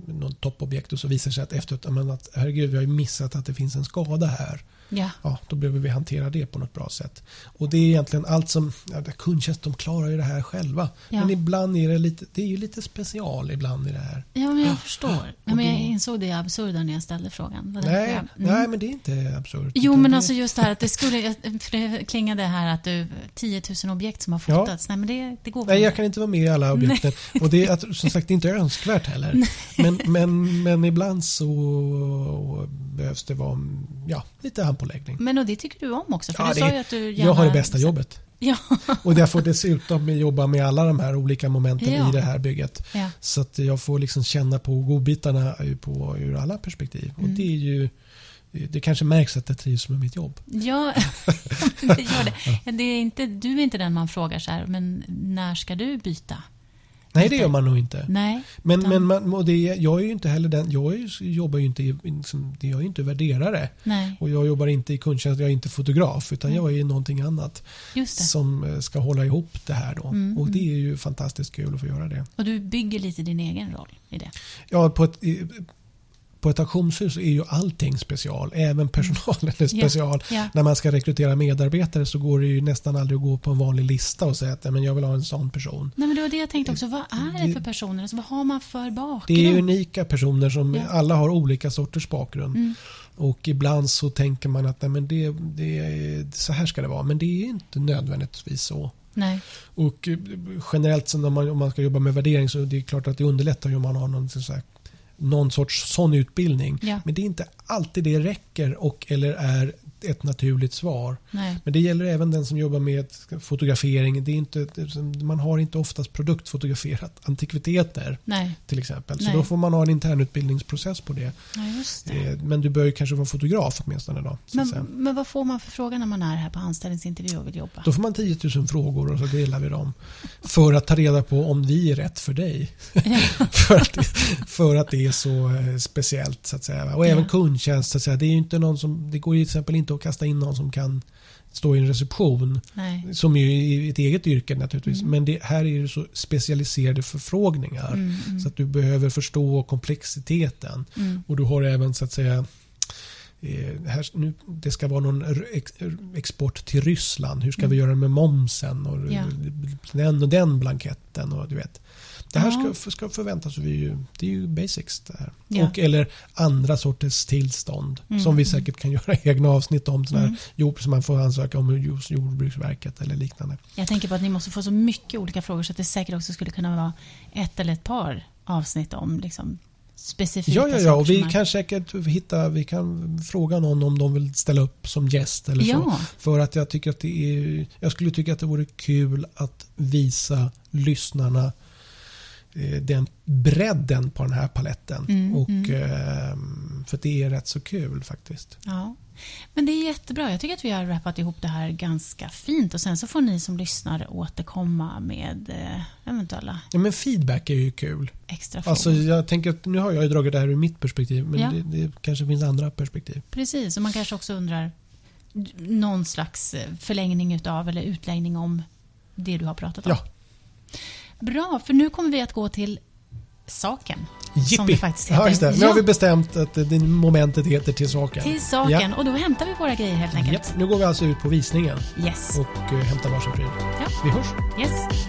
någon toppobjekt och så visar det sig att efteråt ja, men att herregud, vi har ju missat att det finns en skada här.
Ja.
Ja, då behöver vi hantera det på något bra sätt. Och det är egentligen allt som ja, det- kundtjänst, de klarar ju det här själva.
Ja.
Men ibland är det lite, det är ju lite special ibland i det här.
ja, men jag förstår. Ja,
Ah, och
men jag
då-
insåg det absurda när jag ställde frågan. Vad
Nej,
därför jag- Mm.
nej, men det är inte absurt.
Jo,
Utan
men
det-
alltså just det här att det skulle... För det klingade här att du... 10 000 objekt som har
Ja.
fotats. Nej, men det, det går väl
Nej, jag
inte.
kan inte vara med i alla objekten. Och det är att, som sagt det är inte önskvärt heller. Men, men, men ibland så behövs det vara ja, lite handpåläggning.
Men och det tycker du om också? För
Ja,
du
det-
sa ju att du gärna...
Jag har det bästa jobbet.
Ja,
Och jag får dessutom jobba med alla de här olika momenten
Ja.
i det här bygget.
ja.
Så att jag får liksom känna på godbitarna ju på, ur alla perspektiv. Och det är
Mm.
ju det kanske märks att jag trivs med mitt jobb.
Ja, det gör det. det är inte, du är inte den man frågar så här, men när ska du byta?
Nej, det gör man nog inte.
Nej.
Men,
utan-
men man, och det, jag är ju inte heller den, jag är, ju- jobbar ju inte, i- liksom, jag är ju inte värderare.
Nej,
Och jag jobbar inte i kundtjänst, jag är inte fotograf utan jag är någonting annat
just det.
som eh, ska hålla ihop det här då.
Mm,
och det är ju fantastiskt kul att få göra det.
Och du bygger lite din egen roll i det.
Ja, på ett, i- på ett auktionshus är ju allting special, även personalen är special.
Ja.
När man ska rekrytera medarbetare så går det ju nästan aldrig att gå på en vanlig lista och säga att "Nej, men jag vill ha en sån person.
Nej, men det var det jag tänkte också. Vad är det
Det-
för personer? Alltså, vad har man för bakgrund?
Det är unika personer som
Ja. Mm.
alla har olika sorters bakgrund. Och ibland så tänker man att Nej, men det, det, är- så här ska det vara, men det är inte nödvändigtvis så.
Nej.
Och eh, generellt så när man, om man ska jobba med värdering så är det klart att det underlättar ju om man har någon, så här, någon sorts sån utbildning.
Ja.
Men det är inte alltid det räcker och eller är ett naturligt svar.
Nej.
Men det gäller även den som jobbar med fotografering. Det är inte, man har inte oftast produktfotograferat antikviteter
Nej.
till exempel. Så
Nej.
då får man ha en internutbildningsprocess på det.
Ja, just det.
Eh, Men du bör ju kanske vara fotograf åtminstone då. Så att
Men,
säga.
men vad får man för fråga när man är här på anställningsintervju och vill jobba?
Då får man 10 000 frågor och så grillar vi dem. För att ta reda på om vi är rätt för dig. för, att, för att det är så eh, speciellt så att säga. Och även
Ja.
kundtjänst så att säga. Det, är ju inte någon som, det går ju till exempel inte att kasta in någon som kan stå i en reception.
Nej.
Som ju är ett eget yrke naturligtvis. Men det, här är det så specialiserade förfrågningar.
Mm,
Så att du behöver förstå komplexiteten.
Mm.
Och du har även så att säga eh, här, nu, det ska vara någon r- ex, r- export till Ryssland. Hur ska vi göra med momsen och
Mm. Ja.
den och den blanketten. Och, du vet. Det här
Ja.
ska, ska förväntas. Vi är ju, det är ju basics. Det här.
Ja.
Och, eller andra sorters tillstånd.
Mm,
Som vi säkert kan göra egna avsnitt om. Sådana
Mm.
här jord, som man får ansöka om hos Jordbruksverket eller liknande.
Jag tänker på att ni måste få så mycket olika frågor så att det säkert också skulle kunna vara ett eller ett par avsnitt om liksom, specifika
Ja, ja, ja.
saker
Och
som
vi
är-
kan säkert hitta, vi kan fråga någon om de vill ställa upp som gäst eller så.
Ja.
För att jag tycker att det är, jag skulle tycka att det vore kul att visa lyssnarna eh, den bredden på den här paletten.
Mm,
och
mm.
ehm, För det är rätt så kul faktiskt.
Ja. Men det är jättebra. Jag tycker att vi har rappat ihop det här ganska fint. Och Sen så får ni som lyssnar återkomma med eh, eventuella
Ja, men feedback är ju kul.
extra frågor.
Alltså, jag tänker att nu har jag ju dragit det här ur mitt perspektiv men
Ja.
det, det kanske finns andra perspektiv.
Precis, och man kanske också undrar d- någon slags eh, förlängning utav eller utläggning om det du har pratat om.
Ja,
Bra, för nu kommer vi att gå till saken. Som
jippi!
det faktiskt heter.
Ja, just det. Nu
Ja.
har vi bestämt att eh, det momentet heter Till saken.
Till saken, och då hämtar vi våra grejer helt enkelt.
Japp, nu går vi alltså ut på visningen
Yes.
och eh, hämtar varsin pryl.
Ja.
Vi hörs!
yes.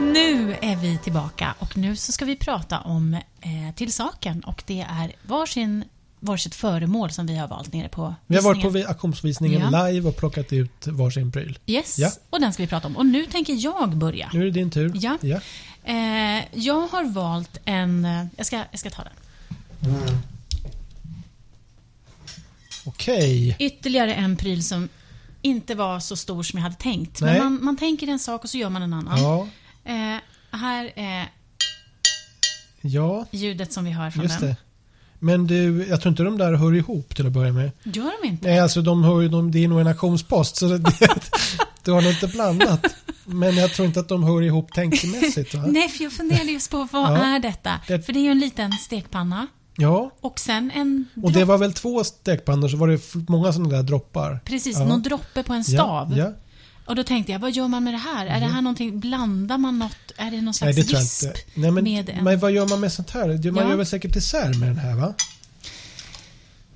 Nu är vi tillbaka och nu så ska vi prata om eh, till saken och det är varsin, varsitt föremål som vi har valt nere på
Vi har varit på
visningen.
vi- auktionsvisningen
Ja.
live och plockat ut varsin pryl.
Yes,
Ja.
och den ska vi prata om. Och nu tänker jag börja.
Nu är det din tur.
Ja.
Ja.
Eh, jag har valt en... eh, Jag ska, jag ska ta den.
Okej.
Ytterligare en pryl som inte var så stor som jag hade tänkt.
Nej.
Men man, man tänker en sak och så gör man en annan.
Ja.
Eh, här är
ja,
ljudet som vi hör från
just
den.
det. Men du, jag tror inte de där hör ihop till att börja med.
Gör de inte?
Nej, alltså de hör ju, de, det är nog en auktionspost så det, du har nog inte blandat. Men jag tror inte att de hör ihop tänkemässigt. Va?
Nej, för jag funderade just på vad
Ja.
är detta?
Det-
För det är ju en liten stekpanna
Ja,
och sen en
och det
dropp-
var väl två stekpannor så var det f- många sådana där droppar.
Precis,
Ja.
någon droppe på en stav.
Ja, ja.
Och då tänkte jag, vad gör man med det här? Är det här någonting, blandar man något? Är det någon
Nej,
slags
det tror jag
visp?
inte. Nej, men,
med en-
men vad gör man med sånt här? Det- Man
Ja.
gör väl säkert dessert med den här va?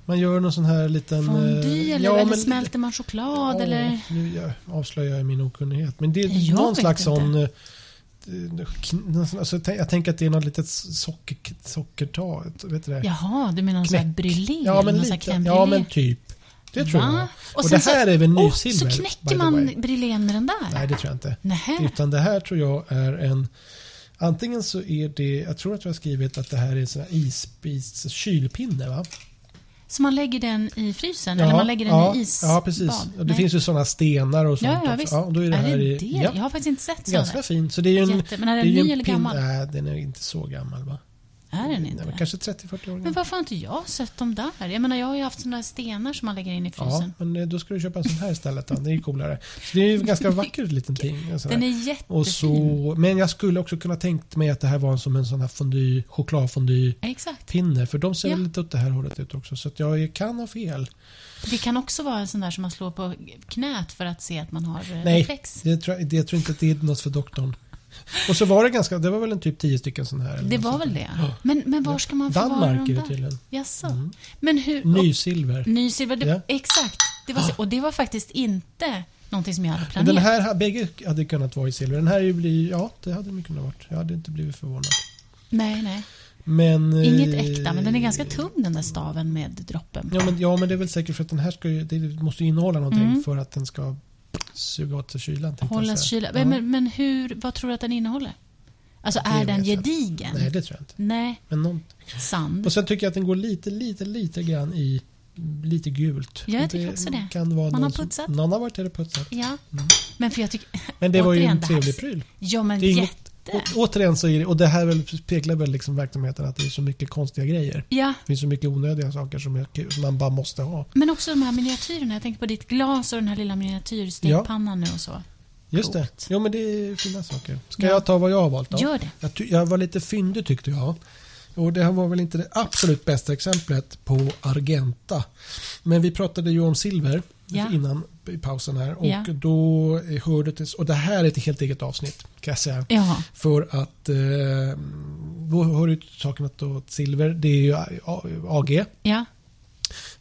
Man gör någon sån här liten...
Fondue
eh,
eller, eller
men-
smälter man choklad
Ja,
eller?
Nu jag, avslöjar jag min okunnighet. Men det är
Jag
någon
vet
slags
inte.
sån... eh, eh, kn- någon sån- Alltså, jag tän- jag tänker att det är något litet socker, sockertag. Vet du det?
Jaha, du menar någon sån här
Knäck.
brulé?
ja, men
någon sån här
lite.
crème
Ja,
brûlée?
men typ. Det tror
Va?
jag.
Och
Och,
sen
det här är väl nysilver?
Oh, så
by the
knäcker man
way.
brulén med den där?
Nej, det tror jag inte.
Nähä.
Utan det här tror jag är en... Antingen så är det... Jag tror att jag har skrivit att det här är en sån här isbis... Kylpinne, va?
Så man lägger den i frysen? eller man lägger den
ja,
i isbad?
Ja, precis. Och det
Nej.
finns ju sådana stenar och sånt
ja, ja,
också.
visst.
Ja, och då är det här i...
det?
ja.
Jag har faktiskt inte sett
Ganska
sådana.
fin. Så det är ju en,
Jätte- men är den
det är ju
ny
en
eller
pin-
gammal?
Nej, den är inte så gammal va?
Är den inte?
Nej, men kanske 30-40 år
Men
gammal.
varför har inte jag sett dem där? Jag menar, jag har ju haft sådana här stenar som man lägger in i
Ja,
frysen.
men eh, då ska du köpa en sån här istället. Då. Det är ju coolare. Så det är ju en ganska vacker liten ting. och sådär.
den är jättefin.
och så, men jag skulle också kunna tänkt mig att det här var som en sån här fondue, chokladfondue-pinne.
Exakt.
För de ser
Ja.
väl lite åt det här hållet ut också. Så att jag kan ha fel.
Det kan också vara en sån där som man slår på knät för att se att man har eh,
Nej,
reflex.
det tror, jag, det tror inte att det är något för doktorn. Och så var det ganska, det var väl en typ 10 stycken sån här. eller
Det
något
var
sånt
väl
där.
det? Men, men var ska man förvara
Danmark
dem
är det
där?
tydligen. Mm.
Jaså? Men hur... och-
Nysilver.
Nysilver, det,
Ja.
exakt. Det var, och det var faktiskt inte någonting som jag hade
Men
planerat.
den här, ha- bägge hade kunnat vara i silver. Den här är ju bli, ja det hade den kunnat vara. Jag hade inte blivit förvånad.
Nej, nej.
Men, eh,
Inget äkta, men den är ganska tung den där staven med droppen.
Ja men, ja men det är väl säkert för att den här ska ju, det måste ju innehålla någonting
Mm.
för att den ska suga åt sig kylan. tänkte jag
Hållas
säga.
kyla.
Ja.
Men, men, men hur, vad tror du att den innehåller? Alltså är
vet
den
jag inte.
gedigen?
Nej det tror jag inte.
Nej,
Men någon,
sand.
och sen tycker jag att den går lite, lite, lite grann i lite gult.
Ja, jag
Och
tycker också det.
Kan vara
Man
någon
har
som-
putsat.
Någon har varit där och putsat.
Ja,
Mm.
men för jag tycker...
Men det var ju
Återigen,
en
det här
trevlig
ser-
pryl.
Ja, men
Det är inget-
jätte...
Å, återigen så är det, och det här väl speglar väl liksom verksamheten att det är så mycket konstiga grejer.
Ja,
Det finns så mycket onödiga saker som, är kul, som man bara måste ha.
men också de här miniatyrerna. Jag tänker på ditt glas och den här lilla miniatyrstekpannan nu och så.
Just det.
Coolt.
Jo men det är fina saker. Ska
Ja.
jag ta vad jag har valt då?
Gör det.
Jag, ty- jag var lite fyndig tyckte jag. Och det här var väl inte det absolut bästa exemplet på Argenta. Men vi pratade ju om silver
Ja.
innan i pausen här. Och
Ja.
då hörde det, och det här är ett helt eget avsnitt kan jag säga.
Jaha.
För att eh, då hör ju saken att då, silver det är ju eh, A- AG.
Ja,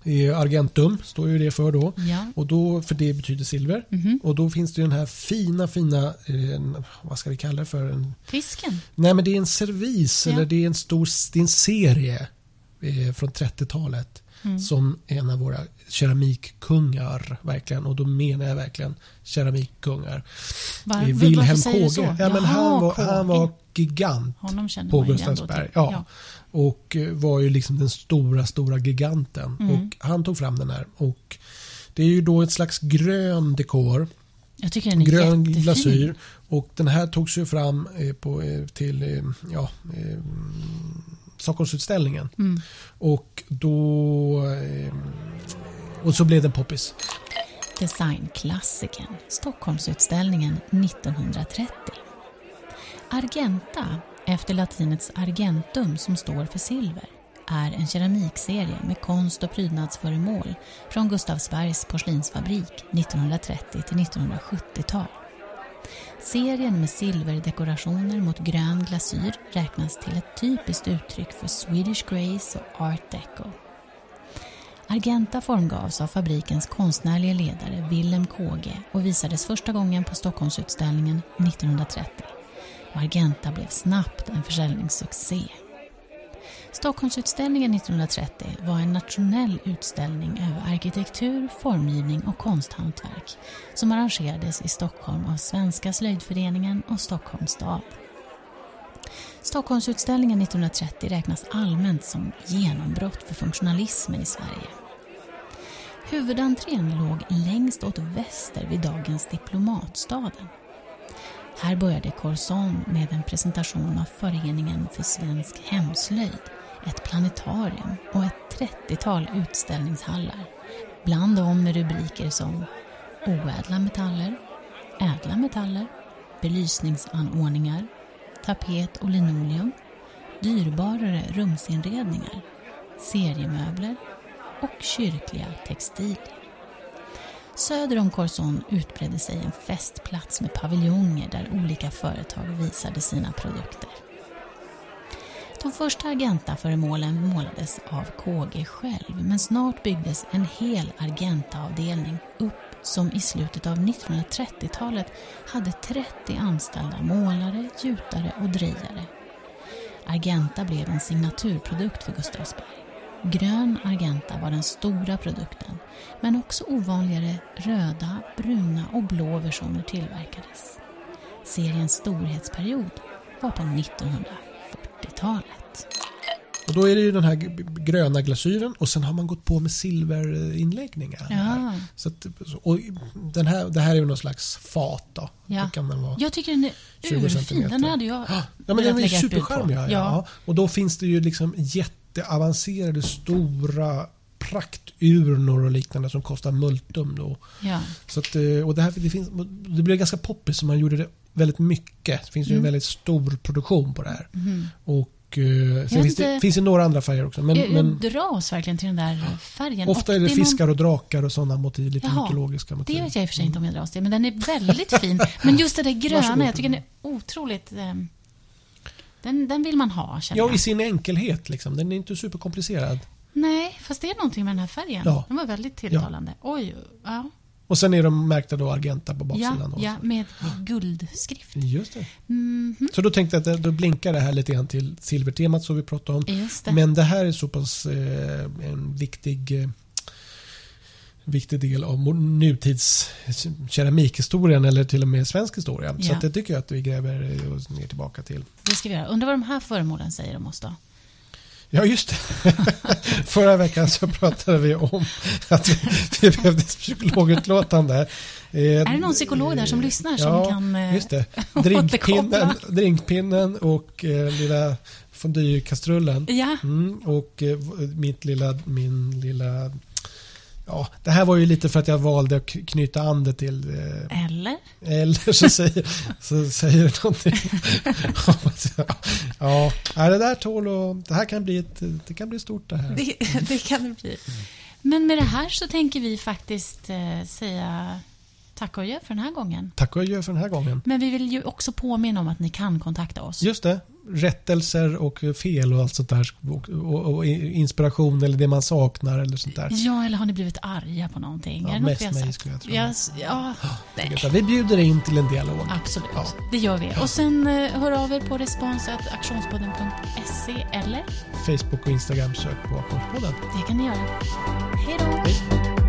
Det är Argentum står ju det för då.
ja.
Och då, för det betyder silver.
Mhm.
Och då finns det ju den här fina, fina, eh, vad ska vi kalla det för? En,
Fisken.
nej men det är en servis
Ja.
eller det är en stor det är en serie eh, från 30-talet.
Mm.
Som en av våra keramikkungar verkligen. Och då menar jag verkligen keramikkungar.
Var,
Eh, Wilhelm
varför säger du
Kåge.
så?
Ja, men han,
Jaha,
var,
Kåge.
han var gigant
Honom känner
på
man ju ändå typ.
Gustavsberg.
till.
Ja. Och eh, var ju liksom den stora, stora giganten.
Mm.
Och han tog fram den här. Och det är ju då ett slags grön dekor.
Jag tycker den är
grön
jättefin.
glasyr. Och den här togs ju fram eh, på, eh, till eh, ja, eh, Stockholmsutställningen.
Mm.
Och då... Eh, och så blev den poppis.
Designklassikern, Stockholmsutställningen 1930. Argenta, efter latinets argentum som står för silver, är en keramikserie med konst och prydnadsföremål från Gustavsbergs porslinsfabrik 1930 till 1970-tal. Serien med silverdekorationer mot grön glasyr räknas till ett typiskt uttryck för Swedish Grace och Art Deco. Argenta formgavs av fabrikens konstnärliga ledare Willem Kåge och visades första gången på Stockholmsutställningen 1930. Och Argenta blev snabbt en försäljningssuccé. Stockholmsutställningen 1930 var en nationell utställning över arkitektur, formgivning och konsthantverk som arrangerades i Stockholm av Svenska slöjdföreningen och Stockholms stad. Stockholmsutställningen 1930 räknas allmänt som genombrott för funktionalismen i Sverige. Huvudentrén låg längst åt väster vid dagens Diplomatstaden. Här började Corson med en presentation av Föreningen för svensk hemslöjd, ett planetarium och ett 30-tal utställningshallar. Bland dem med rubriker som Oädla metaller, Ädla metaller, Belysningsanordningar, Tapet och linoleum, Dyrbarare rumsinredningar, Seriemöbler och kyrkliga textilier. Söder om Corson utbredde sig en festplats med paviljonger där olika företag visade sina produkter. De första Argenta-föremålen målades av KG själv men snart byggdes en hel Argenta-avdelning upp som i slutet av 1930-talet hade 30 anställda målare, gjutare och drejare. Argenta blev en signaturprodukt för Gustavsberg. Grön Argenta var den stora produkten, men också ovanligare röda, bruna och blå versioner tillverkades. Seriens storhetsperiod var på 1940-talet.
Och då är det ju den här g- gröna glasyren och sen har man gått på med silverinläggningar.
Ja.
Så att, och den här, det här är ju någon slags fat då.
Ja.
Då Kan den vara.
Jag tycker den är
20
urfin.
centimeter.
Den hade jag
Ja, men
velat
den är ju
lägga ett bud
superskärm.
på.
Ja, ja. ja. Och då finns det ju liksom jätteavancerade stora prakturnor och liknande som kostar multum. Då.
ja.
Så att, eh, och det, här, det, finns, det blev ganska poppis så man gjorde det väldigt mycket. Det finns ju en
Mm.
väldigt stor produktion på det här.
Mhm.
Och, eh, sen
Jag
finns, det,
inte-
finns det några andra färger också. Men,
jag,
men
jag dras verkligen till den där färgen.
ofta är det
Och någon-
fiskar och drakar och sådana motiv. Lite
Jaha,
mytologiska motiv.
Det vet jag i och för sig inte om jag dras till, men den är väldigt fin. Men just det där gröna,
Varsågod.
jag tycker den är otroligt... ehm, Den, den vill man ha, känner
Ja, i
jag.
sin enkelhet. Liksom. Den är inte superkomplicerad.
Nej, fast det är någonting med den här färgen.
Ja.
Den var väldigt tilltalande. Oj, ja.
Och sen är de märkta då Argenta på baksidan.
Ja,
då.
ja, med guldskrift.
Just det.
Mhm,
Så då tänkte jag att det- då blinkar det här lite grann till silvertemat som vi pratade om.
just det.
Men det här är så pass eh, en viktig, eh, viktig del av mo- nutids keramikhistorien eller till och med svensk historia. Så
Ja.
att det tycker jag att vi gräver eh, oss ner tillbaka till.
Det ska vi göra. Undrar vad de här föremålen säger om oss då?
Ja, just det. Förra veckan så pratade vi om att vi, vi behövde ett psykologutlåtande.
Är det någon psykolog där som lyssnar som
ja,
kan... eh,
Just det.
återkoppla.
Drinkpinnen, drinkpinnen och eh, lilla fondyekastrullen.
Ja,
Mm, och eh, v- mitt lilla, min lilla... Ja, det här var ju lite för att jag valde att k- knyta an det till... Eh,
eller?
eller så säger, så säger det någonting. om att jag- ja, nej, det där tål och Det här kan bli, ett, det kan bli stort det här.
Det, det kan det bli. Men med det här så tänker vi faktiskt eh, säga tack och adjö för den här gången.
Tack och adjö för den här gången.
Men vi vill ju också påminna om att ni kan kontakta oss.
Just det. Rättelser och fel och allt sånt där. Och, och, och inspiration eller det man saknar eller sånt där.
Ja, eller har ni blivit arga på någonting?
Ja,
är det
mest
något vi har
mig
sagt?
skulle jag tro.
Ja, s- ja, nej.
Utan Vi bjuder in till en dialog.
Absolut,
Ja.
det gör vi. Och sen eh, hör av er på respons.aktionspodden.se E, eller
Facebook och Instagram sök på Auktionspodden.
det kan ni göra. Hej då!
Hej.